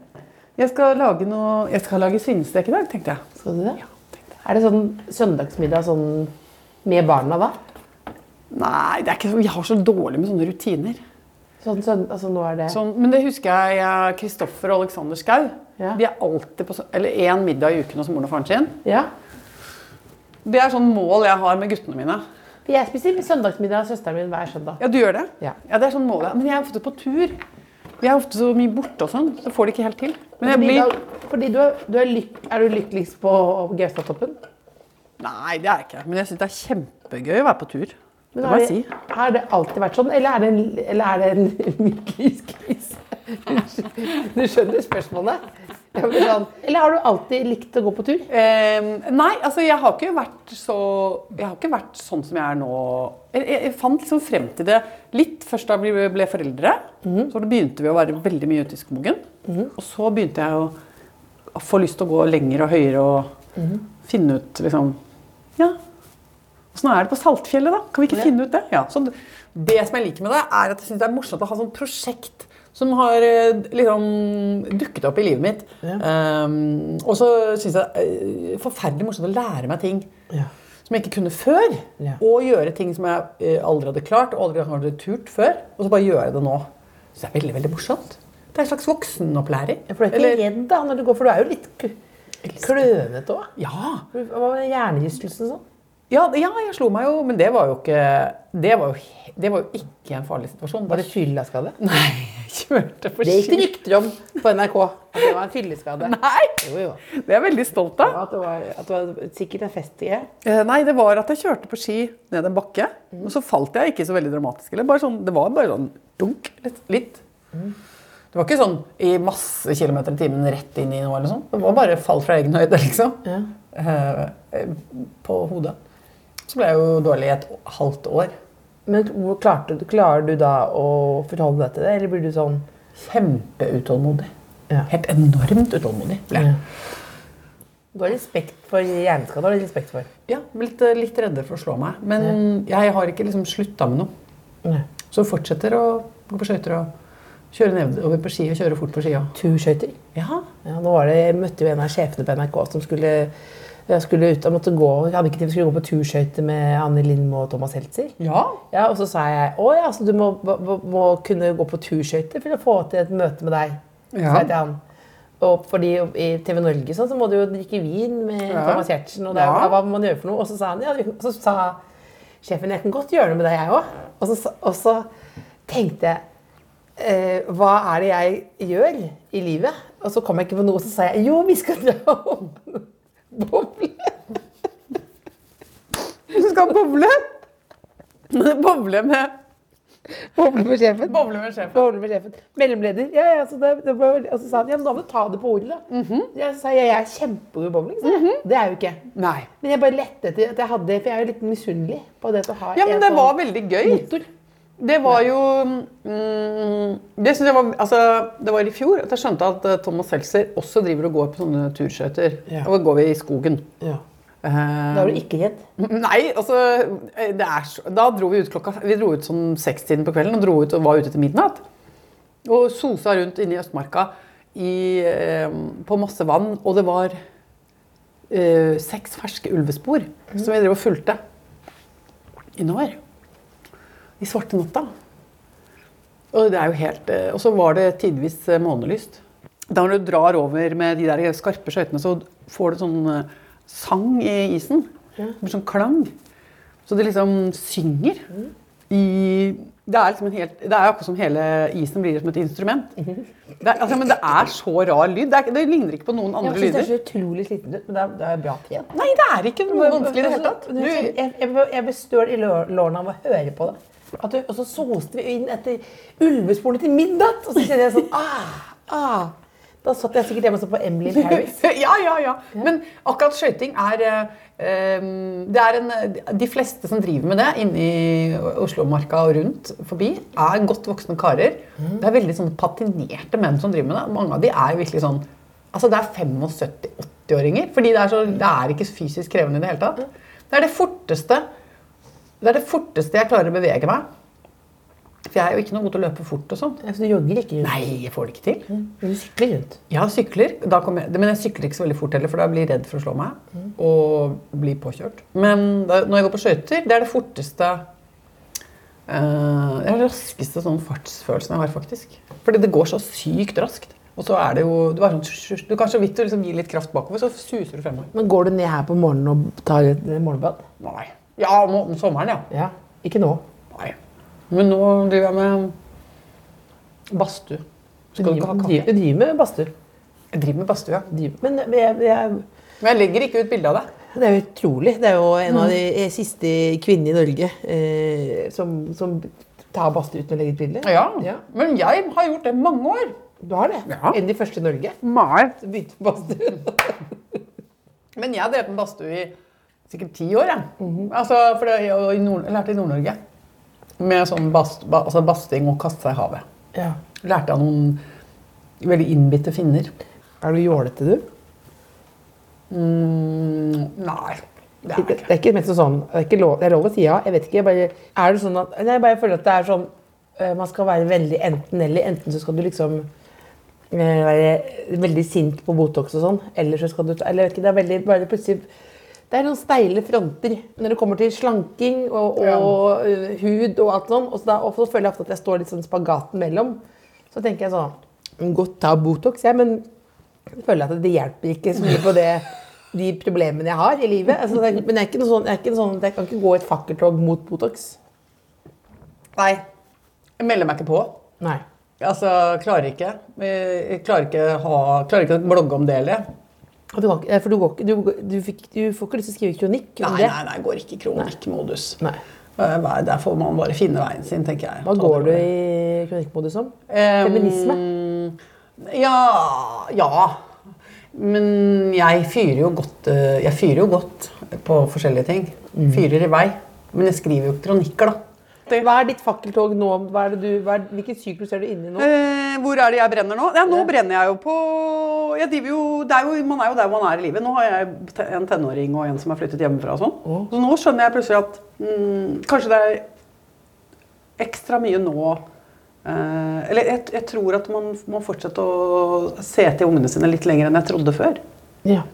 Speaker 4: Jeg skal lage noe Jeg skal lage svinestek i dag, tenkte jeg.
Speaker 3: Skal du det? Er det sånn søndagsmiddag sånn med barna da?
Speaker 4: Nei, det er ikke så, jeg har så dårlig med sånne rutiner.
Speaker 3: Sånn søndag, altså nå er det
Speaker 4: Sånn, men det husker jeg Kristoffer og Alexander Skau.
Speaker 3: Ja.
Speaker 4: De er alltid på så- eller én middag i uken hos moren og faren sin.
Speaker 3: Ja.
Speaker 4: Det er sånn mål jeg har med guttene mine.
Speaker 3: For jeg spiser søndagsmiddag av søsteren min hver søndag.
Speaker 4: Ja, du gjør det?
Speaker 3: Ja.
Speaker 4: det er sånn mål. jeg- Men jeg er ofte på tur. Jeg er ofte så mye borte og sånn, så får det ikke helt til. Men jeg
Speaker 3: Fordi
Speaker 4: blir
Speaker 3: da- fordi du er, du er, lyk, er du lykkeligst på Gaustatoppen?
Speaker 4: Nei, det er jeg ikke. Men jeg syns det er kjempegøy å være på tur.
Speaker 3: Men
Speaker 4: det
Speaker 3: har
Speaker 4: må jeg si.
Speaker 3: Har det alltid vært sånn, eller er det en, eller er det en (laughs) midtlivskrise? Unnskyld, (laughs) Du skjønner spørsmålet? Jeg blir sånn, eller har du alltid likt å gå på tur?
Speaker 4: Eh, nei, altså jeg har ikke vært så Jeg har ikke vært sånn som jeg er nå. Jeg, jeg, jeg fant liksom frem til det litt først da vi ble foreldre. Så da begynte vi å være veldig mye ute i skogen. Og så begynte jeg å å få lyst til å gå lenger og høyere og finne ut liksom Ja, Åssen er det på Saltfjellet, da? Kan vi ikke finne ut det? Ja, så det- det som jeg liker med det, er at jeg synes det er morsomt å ha sånn prosjekt som har eh, liksom dukket opp i livet mitt. Um, og så syns jeg det er eh, forferdelig morsomt å lære meg ting som jeg ikke kunne før.
Speaker 3: Ja.
Speaker 4: Og gjøre ting som jeg eh, aldri hadde klart og aldri hadde turt før. Og så bare gjøre det nå. Så det er veldig, veldig morsomt. Det er en slags voksenopplæring.
Speaker 3: For du er ikke
Speaker 4: Eller-
Speaker 3: redd da når du går, for du er jo litt k- klønete òg.
Speaker 4: ja.
Speaker 3: Hva med hjernerystelsen og sånn?
Speaker 4: Ja, det- ja, jeg slo meg jo, men det var jo ikke Det var jo, he- det var jo ikke en farlig situasjon.
Speaker 3: Var det fyllaskade?
Speaker 4: (laughs) Nei, jeg kjørte for
Speaker 3: Det gikk det
Speaker 4: skyld.
Speaker 3: rykter om på NRK. At det var en fylleskade.
Speaker 4: Nei!
Speaker 3: Jo, jo.
Speaker 4: Det er jeg veldig stolt av.
Speaker 3: At det var, at det var sikkert en fest i det.
Speaker 4: Eh, Nei, det var at jeg kjørte på ski ned en bakke.
Speaker 3: Mm.
Speaker 4: Og så falt jeg ikke så veldig dramatisk. Eller bare sånn, det var bare sånn dunk litt. litt.
Speaker 3: Mm.
Speaker 4: Det var ikke sånn i masse kilometer i timen rett inn i noe eller sånn. Det var bare fall fra egen høyde, liksom. Eh, eh, På hodet. Så ble jeg jo dårlig i et halvt år.
Speaker 3: Men hvor klarte du, klarer du da å forholde deg til det, eller blir du sånn
Speaker 4: Kjempeutålmodig.
Speaker 3: Ja.
Speaker 4: Helt enormt utålmodig ble jeg.
Speaker 3: Du har respekt for hjerneskader. har du respekt for.
Speaker 4: Ja, blitt eh, litt redde for å slå meg. Men jeg har ikke liksom slutta med noe. Så fortsetter å gå på skøyter og kjøre nedover på ski og kjøre fort på ski. Og.
Speaker 3: Turskøyter.
Speaker 4: Ja.
Speaker 3: Ja, nå var det, jeg møtte jo en av sjefene på NRK som skulle, jeg skulle ut og måtte gå, jeg hadde ikke tid, vi skulle gå på turskøyter med Anne Lindmo og Thomas Heltzer.
Speaker 4: ja.
Speaker 3: Ja, og så sa jeg å ja, så du må, må, må kunne gå på turskøyter for å få til et møte med deg. Så
Speaker 4: Ja.
Speaker 3: sa jeg til han. Og fordi I TV Norge sånn, så må du jo drikke vin med
Speaker 4: Ja.
Speaker 3: Thomas Giertsen. Og det er,
Speaker 4: Ja.
Speaker 3: hva må man gjøre for noe? Og så sa han ja, du- og så sa sjefen jeg kan godt gjøre det med deg, jeg òg. Og, så sa- og så tenkte jeg eh, hva er det jeg gjør i livet? Og så kom jeg ikke på noe, og så sa jeg jo, vi skal dra og (laughs) boble.
Speaker 4: (laughs) Du skal bowle. Bowle med
Speaker 3: Boble med sjefen.
Speaker 4: Boble med sjefen.
Speaker 3: Boble med sjefen. Mellomleder. Ja, ja, så det, det var, og så sa han ja, men da må du ta det på ordet, da.
Speaker 4: Mhm.
Speaker 3: Jeg sa jeg, jeg er kjempegod i bowling. sa jeg. Det er jeg jo ikke.
Speaker 4: Nei.
Speaker 3: Men jeg bare lette etter at jeg hadde For jeg er jo litt misunnelig på det å ha
Speaker 4: Ja, men
Speaker 3: en
Speaker 4: det
Speaker 3: sånn
Speaker 4: var veldig gøy.
Speaker 3: motor.
Speaker 4: Det var jo mm, Det synes jeg var Altså, det var i fjor at jeg skjønte at eh, Thomas Seltzer også driver og går på sånne turskøyter.
Speaker 3: Ja.
Speaker 4: Og går vi i skogen.
Speaker 3: Ja.
Speaker 4: Eh,
Speaker 3: Da var du ikke redd.
Speaker 4: Nei, altså eh, det er så, Da dro vi ut klokka Vi dro ut sånn sekstiden på kvelden og dro ut og var ute til midnatt. Og sosa rundt inne i Østmarka i, eh, på masse vann, og det var eh, seks ferske ulvespor som vi drev og fulgte innover. I svarte natta. Og det er jo helt eh, Og så var det tidvis eh, månelyst. Da når du drar over med de der skarpe skøytene, så får du sånn eh, sang i isen. Det blir sånn klang. Så det liksom synger i Det er liksom en helt Det er akkurat som hele isen blir som et instrument.
Speaker 3: Mhm.
Speaker 4: Det er, altså, men det er så rar lyd. Det, er, ikke- det ligner ikke på noen
Speaker 3: Jeg
Speaker 4: andre
Speaker 3: synes det er
Speaker 4: lyder.
Speaker 3: så utrolig sliten ut, men det er, det er bra trent.
Speaker 4: Nei, det er ikke noe vanskelig i det hele tatt.
Speaker 3: Men jeg-
Speaker 4: Du,
Speaker 3: jeg, jeg, jeg ble støl i lår- lårene av å høre på det. At du, og så soste vi inn etter ulvesporene til midnatt, og så kjente jeg sånn ah, ah. Da satt jeg sikkert hjemme og så på Emily in Paris.
Speaker 4: (laughs) ja, ja, ja. Men akkurat skøyting er eh, eh, det er en, De fleste som driver med det inni Oslomarka og rundt forbi, er godt voksne karer. Det er veldig sånn patinerte menn som driver med det. Mange av de er virkelig sånn Altså det er 75-80-åringer. Fordi det er, så, det er ikke fysisk krevende i det hele tatt. Det er det forteste det er det forteste jeg klarer å bevege meg. For jeg er jo ikke noe god til å løpe fort og sånn.
Speaker 3: Så du jogger ikke rundt,
Speaker 4: Nei, jeg får det ikke til.
Speaker 3: men du sykler rundt.
Speaker 4: Ja, sykler. Da kommer jeg, men jeg sykler ikke så veldig fort heller, for da blir jeg redd for å slå meg. Og bli påkjørt. Men da, når jeg går på skøyter, det er det forteste eh, Det er den raskeste sånn fartsfølelsen jeg har, faktisk. Fordi det går så sykt raskt. Og så er det jo Du, er sånn, du kan så vidt du liksom gir litt kraft bakover, så suser du fremover.
Speaker 3: Men går du ned her på morgenen og tar et morgenbad?
Speaker 4: Nei. Ja, om, om sommeren, ja.
Speaker 3: Ja. Ikke nå.
Speaker 4: Nei. Men nå driver jeg med badstue.
Speaker 3: Du
Speaker 4: Skal du ikke
Speaker 3: driver,
Speaker 4: ha
Speaker 3: driver,
Speaker 4: kaffe?
Speaker 3: du driver med badstue.
Speaker 4: Jeg driver med badstue, ja.
Speaker 3: Driver- Men jeg, jeg,
Speaker 4: Men jeg legger ikke ut bilde av det.
Speaker 3: det er jo utrolig. Det er jo en av
Speaker 4: Mm.
Speaker 3: de eh, siste kvinnene i Norge eh, som, som tar badstue uten å legge ut bilde.
Speaker 4: Ja. Men jeg har gjort det i mange år.
Speaker 3: Du har det?
Speaker 4: Ja.
Speaker 3: En av de første i Norge
Speaker 4: Nei.
Speaker 3: som begynte på badstue.
Speaker 4: (laughs) Men jeg har drevet med badstue i sikkert ti år. Jeg,
Speaker 3: Mhm.
Speaker 4: altså, for det, jeg, og i Nord, jeg lærte i Nord-Norge. Med sånn bast, ba, altså basting og kaste seg i havet.
Speaker 3: Ja.
Speaker 4: Lærte av noen veldig innbitte finner.
Speaker 3: Er du jålete, du?
Speaker 4: Mm, nei, det
Speaker 3: Det,
Speaker 4: er jeg ikke.
Speaker 3: det er ikke mest sånn, det er, ikke lov, det er lov å si ja, jeg vet ikke. Jeg bare, er det sånn at, nei, jeg bare føler at det er sånn øh, Man skal være veldig enten-eller. Enten så skal du liksom øh, være veldig sint på Botox og sånn, eller så skal du ta Eller jeg vet ikke, det er veldig bare plutselig det er noen steile fronter når det kommer til slanking og, og øh, hud og alt sånn. Og så, da, og så føler jeg ofte at jeg står litt sånn spagaten mellom. Så tenker jeg sånn Godt ta Botox, jeg, men jeg føler at det hjelper ikke så mye på det, de problemene jeg har i livet. Altså, det er, men jeg, er ikke noe sånn, jeg, er ikke noe sånn, jeg kan ikke gå i et fakkeltog mot Botox.
Speaker 4: Nei. Jeg melder meg ikke på.
Speaker 3: Nei.
Speaker 4: Altså, klarer ikke. Jeg klarer ikke, ha, klarer ikke å blogge om det heller.
Speaker 3: Og Du, kan, ikke- eh, for du, går, ikke- du, du, fikk, du får ikke lyst til å skrive kronikk om
Speaker 4: Nei,
Speaker 3: det.
Speaker 4: nei, nei, går ikke i kronikkmodus.
Speaker 3: Nei.
Speaker 4: Eh, Der får man bare finne veien sin, tenker jeg.
Speaker 3: Hva går du i kronikkmodus om?
Speaker 4: Eh,
Speaker 3: Feminisme?
Speaker 4: Ja Ja. Men jeg fyrer jo godt, eh, jeg fyrer jo godt på forskjellige ting. Fyrer i vei. Men jeg skriver jo ikke kronikker, da.
Speaker 3: Hva er ditt fakkeltog nå? Hva er det du, hva er, hvilken syklus er du inne i nå?
Speaker 4: Eh, hvor er det jeg brenner nå? Ja, nå brenner jeg jo på jeg driver jo, det er jo, Man er jo der man er i livet. Nå har jeg te- en tenåring og en som har flyttet hjemmefra. og sånn. Så nå skjønner jeg plutselig at mm, kanskje det er ekstra mye nå eh, Eller jeg, jeg tror at man må fortsette å se til ungene sine litt lenger enn jeg trodde før.
Speaker 3: Ja.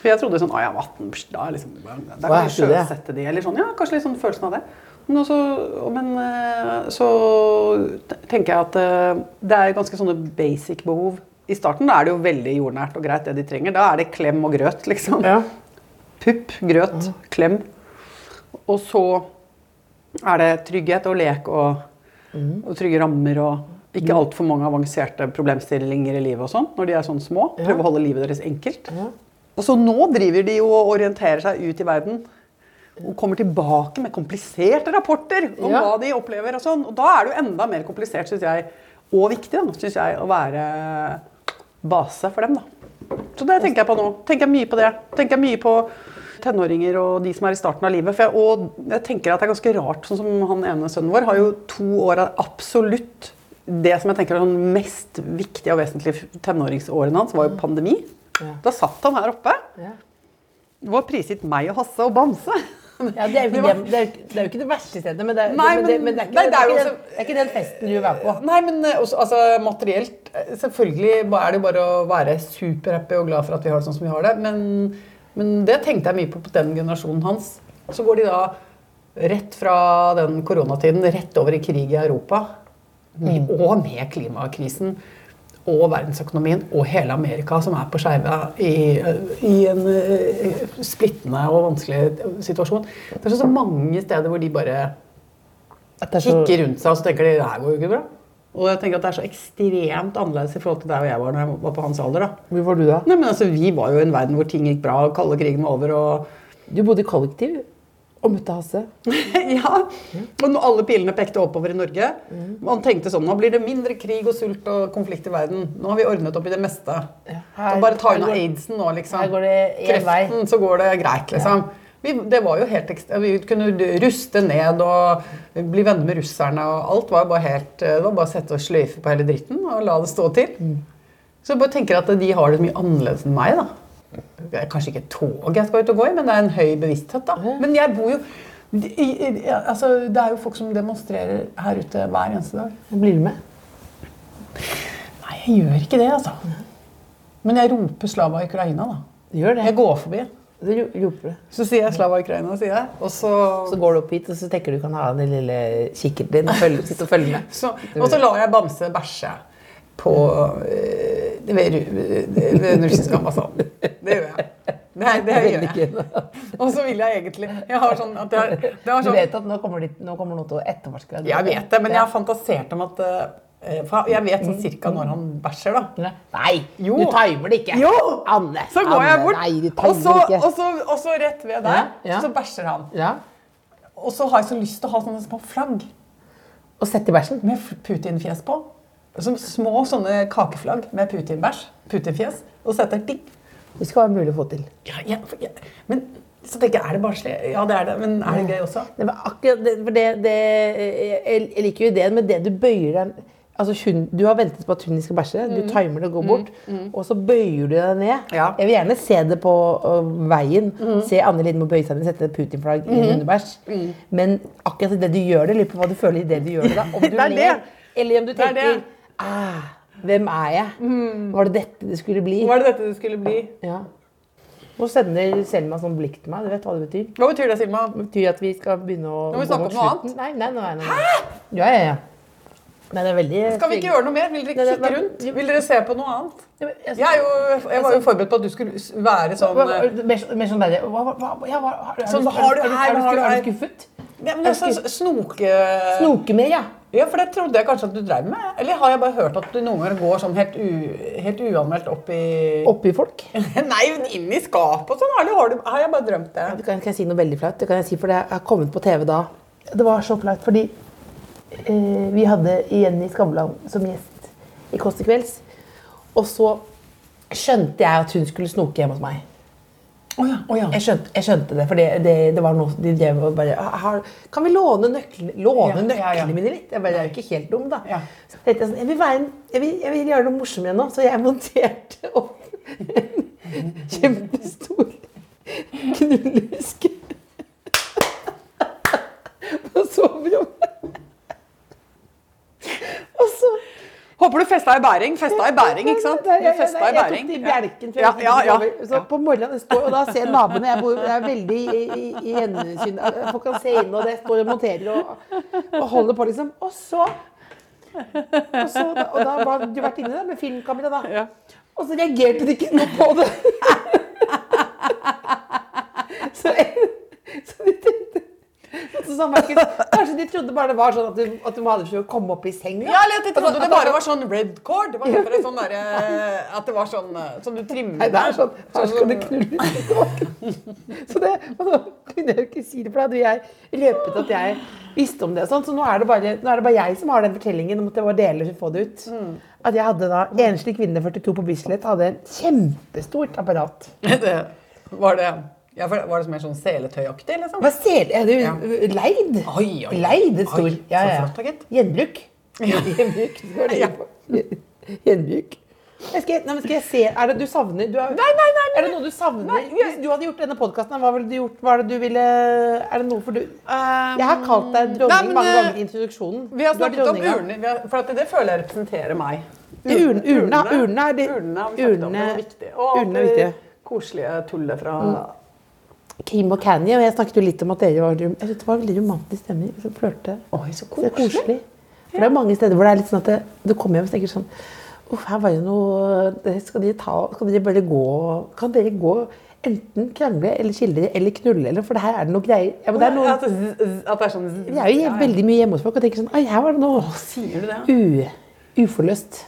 Speaker 4: For jeg trodde sånn, ah, jeg var 18, pst, da er liksom, da
Speaker 3: Hva er
Speaker 4: kan vi
Speaker 3: ikke det?
Speaker 4: sjøsette de, eller sånn, ja, kanskje litt sånn følelsen av det. Men, også, men eh, så te- tenker jeg at eh, det er ganske sånne basic behov. I starten da er det jo veldig jordnært og greit det de trenger. Da er det klem og grøt, liksom.
Speaker 3: Ja.
Speaker 4: Pupp, grøt, klem. Og så er det trygghet og lek og, og trygge rammer og ikke altfor mange avanserte problemstillinger i livet og sånn når de er sånn små. Prøve å holde livet deres enkelt. Og så nå driver de jo og orienterer seg ut i verden. og kommer tilbake med kompliserte rapporter om
Speaker 3: Ja.
Speaker 4: hva de opplever. Og sånn. Og da er det jo enda mer komplisert, synes jeg, og viktig, da, synes jeg, å være base for dem. da. Så det tenker jeg på nå. Tenker jeg mye på det. Tenker jeg mye på tenåringer og de som er i starten av livet. For jeg, og jeg tenker at det er ganske rart, sånn som han ene sønnen vår har jo to år av absolutt det som jeg tenker er sånn mest viktige og vesentlige tenåringsårene hans, var jo pandemi.
Speaker 3: Ja.
Speaker 4: Da satt han her oppe.
Speaker 3: Ja.
Speaker 4: Det var prisgitt meg og Hasse og Bamse.
Speaker 3: Ja, det, er jo ikke,
Speaker 4: var-
Speaker 3: det, det, er, jo ikke- det er jo ikke det verste stedet, men det er,
Speaker 4: Nei,
Speaker 3: men, det, men det er ikke,
Speaker 4: nei, det er jo
Speaker 3: det, er ikke
Speaker 4: også-
Speaker 3: den, det er ikke den festen du vil være på.
Speaker 4: Nei, men eh, også, altså, materielt eh, Selvfølgelig ba- er det jo bare å være superhappy og glad for at vi har det sånn som vi har det. Men, men det tenkte jeg mye på på den generasjonen hans. Så går de da rett fra den koronatiden rett over i krig i Europa. Med- Og med klimakrisen og verdensøkonomien og hele Amerika som er på skeiva i, eh, i en eh, splittende og vanskelig eh, situasjon. Det er så- så mange steder hvor de bare
Speaker 3: Det er så-
Speaker 4: kikker rundt seg og så tenker de det her går jo ikke bra. Og jeg tenker at det er så ekstremt annerledes i forhold til der jeg var når jeg var på hans alder. da.
Speaker 3: Hvor var du da?
Speaker 4: Nei, men altså, Vi var jo i en verden hvor ting gikk bra, og kalde krigen var over. og... (laughs)
Speaker 3: Du bodde i kollektiv og møtte Hasse.
Speaker 4: ja, Og når alle pilene pekte oppover i Norge. Man tenkte sånn Nå blir det mindre krig og sult og konflikt i verden. Nå har vi ordnet opp i det meste.
Speaker 3: Ja.
Speaker 4: Da bare ta
Speaker 3: Her
Speaker 4: unna
Speaker 3: går-
Speaker 4: aidsen nå, liksom.
Speaker 3: her går det en vei.
Speaker 4: Kreften, så går det greit, liksom. Vi, det var jo helt ekstra, vi kunne ruste ned og bli venner med russerne. og Alt var jo bare helt Det var bare å sette og sløyfe på hele dritten og la det stå til.
Speaker 3: Mm.
Speaker 4: Så jeg bare tenker at de har det mye annerledes enn meg, da. Det er kanskje ikke et tog jeg skal ut og gå i, men det er en høy bevissthet. da. Men jeg bor jo i, i, i- altså, Det er jo folk som demonstrerer her ute hver eneste dag.
Speaker 3: Blir du med?
Speaker 4: Nei, jeg gjør ikke det, altså. Men jeg roper 'Slava Ukraina', da.
Speaker 3: Gjør det.
Speaker 4: Jeg går forbi.
Speaker 3: Du ro- roper det.
Speaker 4: Så sier jeg 'Slava Ukraina', sier jeg. Og så,
Speaker 3: Så går du opp hit, og så tenker du kan ha den lille kikkerten din og følge, sitte og følge med.
Speaker 4: (laughs) så, og så lar jeg Bamse bæsje på øh, ved, ru- ved den russiske ambassaden. Det gjør jeg. Det, det gjør
Speaker 3: Veldig
Speaker 4: jeg. Og så vil jeg egentlig Jeg har sånn at jeg, har- det har
Speaker 3: (laughs) Du
Speaker 4: sånn,
Speaker 3: vet at nå kommer, de, nå kommer noen til å etterforske deg?
Speaker 4: Jeg vet det, men jeg har fantasert om at eh, for Jeg vet sånn cirka når han bæsjer, da.
Speaker 3: Mm. Nei,
Speaker 4: Jo.
Speaker 3: du timer det ikke.
Speaker 4: Jo!
Speaker 3: Anne,
Speaker 4: Så går jeg
Speaker 3: Anne,
Speaker 4: bort,
Speaker 3: Nei, du
Speaker 4: og,
Speaker 3: timer det
Speaker 4: så, og,
Speaker 3: ikke.
Speaker 4: så, og så rett ved der,
Speaker 3: Ja, ja.
Speaker 4: så bæsjer han.
Speaker 3: Ja.
Speaker 4: Og så har jeg så lyst til å ha sånne små flagg
Speaker 3: Og sett i bæsjen.
Speaker 4: med f- Putin-fjes på. Som små sånne kakeflagg med Putin-bæsj, Putin-fjes, og setter ding.
Speaker 3: Det skal være mulig å få til.
Speaker 4: Ja, ja, for- ja. Men så tenker jeg, er det barnslig? Ja, det er det, men er det gøy også?
Speaker 3: Nei, men akkurat det, for det, det jeg, jeg liker jo ideen, men det du bøyer deg Altså, hun, du har ventet på at hunden skal bæsje, du timer det og går bort, og så bøyer du deg ned.
Speaker 4: Mm. Ja. Mm.
Speaker 3: Jeg vil gjerne se det på ø, veien. Se Anne Lindmo bøye seg ned og sette et Putin-flagg i
Speaker 4: Mm-hmm.
Speaker 3: en hundebæsj. Men akkurat det du gjør det, lurer på hva du føler i det du gjør det. da. Om
Speaker 4: (laughs) Det
Speaker 3: du
Speaker 4: er det.
Speaker 3: ler, eller om du
Speaker 4: Det er
Speaker 3: tenker
Speaker 4: det. Mm.
Speaker 3: ah, Hvem er jeg? Var det dette det skulle bli?
Speaker 4: Var det dette det skulle bli?
Speaker 3: Ja. Nå sender Selma sånn blikk til meg. Du vet hva det betyr?
Speaker 4: Hva betyr det, Silma?
Speaker 3: Det betyr at vi skal begynne å
Speaker 4: Nå må
Speaker 3: gå
Speaker 4: vi snakke
Speaker 3: mot
Speaker 4: om noe annet.
Speaker 3: slutten. Nei, nei, nei, nei, nei. Ja, ja, ja. Nei, det er veldig
Speaker 4: Skal vi ikke gjøre noe mer? Vil dere
Speaker 3: Nei,
Speaker 4: ikke
Speaker 3: det-
Speaker 4: kikke rundt? Vil dere se på noe annet?
Speaker 3: Ja, men jeg-
Speaker 4: Jeg, er jo, jeg var jo forberedt på at du skulle s- være sånn eh,
Speaker 3: Hva- hva- Mer, sånn- mer sånn derre hva, hva, hva, ja, hva, er,
Speaker 4: Sånn, hva har du
Speaker 3: er, er,
Speaker 4: her, hva har
Speaker 3: er,
Speaker 4: du
Speaker 3: er,
Speaker 4: her?
Speaker 3: du skuffet?
Speaker 4: Ja, men det er sånn snoke...
Speaker 3: Snoke mer, ja.
Speaker 4: Ja, for det trodde jeg kanskje at du drev med. Eller har jeg bare hørt at du noen ganger går sånn helt, u, helt uanmeldt opp i
Speaker 3: Oppi folk.
Speaker 4: Nei, men inn i skapet og sånn. Eller har, du, har jeg bare drømt det?
Speaker 3: Det kan, kan jeg si noe veldig flaut? Det kan jeg si, for det har kommet på TV da. Det var så flaut, fordi eh, vi hadde Jenny Skavlan som gjest i Kåss til kvelds. Og så skjønte jeg at hun skulle snoke hjemme hos meg.
Speaker 4: Å ja. å ja.
Speaker 3: Jeg skjønte, jeg skjønte det, for det, det, det var noe de drev og bare har, Kan vi låne nøklene, låne
Speaker 4: Ja,
Speaker 3: nøklene
Speaker 4: ja, ja.
Speaker 3: mine litt? Jeg bare, jeg er jo ikke helt dum, da.
Speaker 4: Ja.
Speaker 3: Så tenkte jeg sånn, jeg vil, være en, jeg, vil, jeg vil gjøre noe morsommere nå, så jeg monterte opp (laughs) en kjempestor knullehuske på soverommet. Og så
Speaker 4: Håper du festa i bæring. Festa i bæring, ikke sant?
Speaker 3: Nei, nei,
Speaker 4: Du
Speaker 3: nei,
Speaker 4: festa i
Speaker 3: Jeg
Speaker 4: bæring.
Speaker 3: tok til bjelken før
Speaker 4: Ja,
Speaker 3: jeg
Speaker 4: ja,
Speaker 3: skulle
Speaker 4: ja.
Speaker 3: over. Så på morgenen jeg står og da ser naboene Jeg bor jeg er veldig i, i, i gjensyn. Folk kan se inn, og det står og monterer og, og holder på, liksom. Og så Og, så, og da har du vært inne der med filmkamera, da.
Speaker 4: Ja.
Speaker 3: Og så reagerte de ikke noe på det. (laughs) Så, så de tenkte og så sånn, Markus. Kanskje de trodde bare det var sånn at du, at du hadde ikke komme opp i senga?
Speaker 4: Ja, eller at jeg trodde det bare var sånn red cord. Det var bare sånn der, eh, at det var sånn eh, som du trimmer
Speaker 3: Nei, det er sånn
Speaker 4: Sånn
Speaker 3: Her skal
Speaker 4: som-
Speaker 3: det knulles tilbake. (laughs) Så det, og så kunne jeg jo ikke si det, for da hadde jeg røpet at jeg visste om det. og Sånn. Så nå er, det bare, nå er det bare jeg som har den fortellingen om at jeg var deler og få det ut.
Speaker 4: Mm.
Speaker 3: At jeg hadde da Enslig kvinne 42 på Bislett hadde en kjempestort apparat.
Speaker 4: Det- Var det ja, for Var det som mer sånn seletøyaktig, liksom?
Speaker 3: Hva ser Er du
Speaker 4: Ja.
Speaker 3: leid?
Speaker 4: Oi, oi.
Speaker 3: Leid et stor.
Speaker 4: Oi, så flott da, gitt.
Speaker 3: Gjenbruk. (laughs) Gjenbruk. det var det jeg på. Gjenbruk. Jeg skal, nei, men skal jeg se Er det du savner du har,
Speaker 4: Nei, nei, nei,
Speaker 3: Er det noe du savner?
Speaker 4: Nei, jeg-
Speaker 3: Hvis du hadde gjort denne podkasten, hva ville du gjort? Hva er det du ville Er det noe for du
Speaker 4: Um,
Speaker 3: Jeg har kalt deg
Speaker 4: nei,
Speaker 3: dronning
Speaker 4: men,
Speaker 3: mange
Speaker 4: eh,
Speaker 3: ganger i introduksjonen.
Speaker 4: Vi har
Speaker 3: Du er
Speaker 4: snakket om
Speaker 3: dronninga.
Speaker 4: urner, vi har- for at det føler jeg representerer meg.
Speaker 3: Urn- urne- urne er det-
Speaker 4: Urne har vi snakket om, det
Speaker 3: urne-
Speaker 4: var viktig. Og alt
Speaker 3: urne er
Speaker 4: det
Speaker 3: viktig.
Speaker 4: koselige tullet fra
Speaker 3: Kim og Kanye, og jeg snakket jo litt om at dere var Jeg synes Det var veldig romantisk stemning. Så flørte
Speaker 4: Oi, så
Speaker 3: Så det er koselig. For det er mange steder hvor det er litt sånn at det, du kommer hjem og tenker sånn Uff, her var det noe det Skal dere ta Skal dere bare gå Kan dere gå enten krangle eller skille eller knulle, eller For det her er det noe greier. Ja, men det er noe
Speaker 4: at, det- at det er sånn
Speaker 3: Vi er jo hjem- veldig mye hjemme hos folk og tenker sånn Ai, her var det noe
Speaker 4: Sier du det?
Speaker 3: u, uforløst.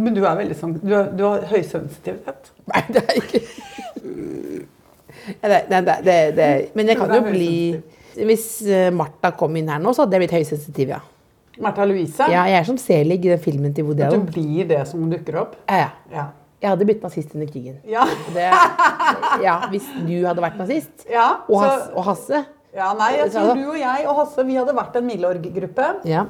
Speaker 4: Men du er veldig sånn Du, er, du har høysensitivitet.
Speaker 3: Nei, det er ikke Nei, det, nei, det, det, det. Men jeg kan
Speaker 4: Det er
Speaker 3: jo bli Hvis eh, Martha kom inn her nå, så hadde jeg blitt høysensitiv, ja.
Speaker 4: Märtha Louise,
Speaker 3: ja. Jeg er som Selig i den filmen til Woody
Speaker 4: du
Speaker 3: Allen.
Speaker 4: blir det som dukker opp.
Speaker 3: Ja, ja.
Speaker 4: Ja.
Speaker 3: Jeg hadde blitt nazist under krigen.
Speaker 4: Ja,
Speaker 3: Det, ja, hvis du hadde vært nazist,
Speaker 4: Ja,
Speaker 3: og,
Speaker 4: så-
Speaker 3: Hass, og Hasse
Speaker 4: ja nei, jeg
Speaker 3: Så-
Speaker 4: tror du og jeg og Hasse vi hadde vært en Milorg-gruppe.
Speaker 3: ja,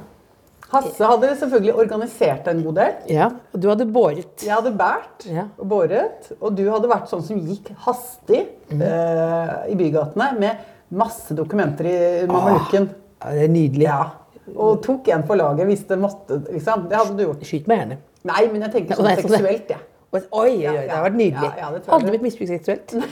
Speaker 4: Hasse hadde selvfølgelig organisert en god del.
Speaker 3: ja, og du hadde båret.
Speaker 4: Jeg hadde båret
Speaker 3: Ja.
Speaker 4: og båret, og du hadde vært sånn som gikk hastig
Speaker 3: Mm.
Speaker 4: eh, i bygatene med masse dokumenter i mamelukken.
Speaker 3: Ja, det er nydelig.
Speaker 4: Ja. Og tok en for laget hvis det måtte. liksom. Det hadde du gjort.
Speaker 3: Skyt meg gjerne.
Speaker 4: Nei, men jeg tenker
Speaker 3: Og
Speaker 4: sånn
Speaker 3: det er sånn det-
Speaker 4: seksuelt, jeg.
Speaker 3: Og- Oi, oi, oi, det har vært nydelig.
Speaker 4: Ja, ja, det tror jeg.
Speaker 3: Aldri blitt misbrukt seksuelt.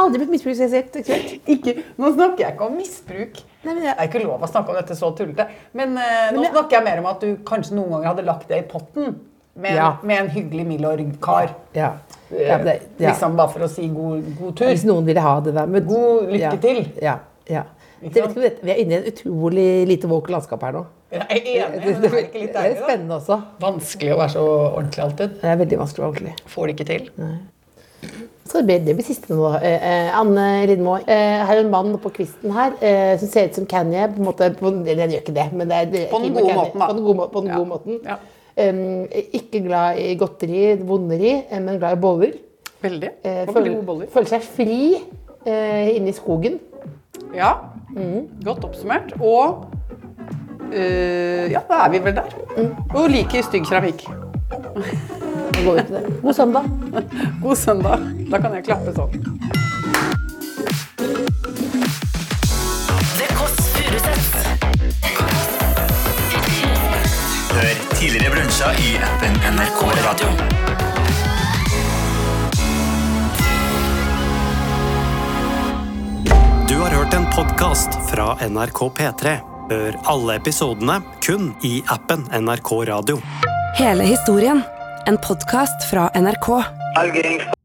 Speaker 3: Aldri blitt misbrukt seksuelt.
Speaker 4: Ikke, nå snakker jeg ikke om misbruk.
Speaker 3: Nei, men
Speaker 4: Det
Speaker 3: jeg-
Speaker 4: er ikke lov å snakke om dette så tullete. Men eh, nå
Speaker 3: Men jeg-
Speaker 4: snakker jeg mer om at du kanskje noen ganger hadde lagt det i potten med, en-
Speaker 3: Ja.
Speaker 4: med en hyggelig Milorg-kar.
Speaker 3: Ja. Ja, men det, ja.
Speaker 4: Liksom bare for å si god, god tur.
Speaker 3: Hvis noen ville ha det der. Men,
Speaker 4: God lykke til.
Speaker 3: Ja, ja. Jeg vet
Speaker 4: Ikke sant?
Speaker 3: ikke om dette- vi er inne i et utrolig lite våk landskap her nå.
Speaker 4: Jeg er enig,
Speaker 3: Det,
Speaker 4: men det er ikke litt
Speaker 3: er
Speaker 4: deilig, da?
Speaker 3: spennende også.
Speaker 4: Vanskelig å være så ordentlig alltid.
Speaker 3: Det er veldig vanskelig og ordentlig.
Speaker 4: Får det ikke til.
Speaker 3: Så det blir, det blir siste nå. Eh, eh, Anne Lindmo, eh, her er en mann på kvisten her eh, som ser ut som Kanye. På en måte, på, eller han gjør ikke det, men det er, det er
Speaker 4: På den
Speaker 3: Kim og
Speaker 4: gode
Speaker 3: Kanye.
Speaker 4: måten, da.
Speaker 3: På den gode, må- på den
Speaker 4: Ja.
Speaker 3: gode måten.
Speaker 4: Ja.
Speaker 3: Em, ikke glad i godteri, vonderi, eh, men glad i boller.
Speaker 4: Veldig.
Speaker 3: Eh,
Speaker 4: Og
Speaker 3: føler,
Speaker 4: gode boller.
Speaker 3: føler seg fri eh, inne i skogen.
Speaker 4: Ja. Godt oppsummert. Og eh, ja, da er vi vel der. Og liker stygg keramikk.
Speaker 3: Nå går vi til det. God søndag.
Speaker 4: God søndag. Da kan jeg klappe sånn.
Speaker 2: Det Kåss Furuseths.
Speaker 8: Hør tidligere brunsja i appen NRK Radio.
Speaker 1: Du har hørt en podkast fra NRK P3. Hør alle episodene kun i appen NRK Radio.
Speaker 9: Hele historien. En podkast fra NRK.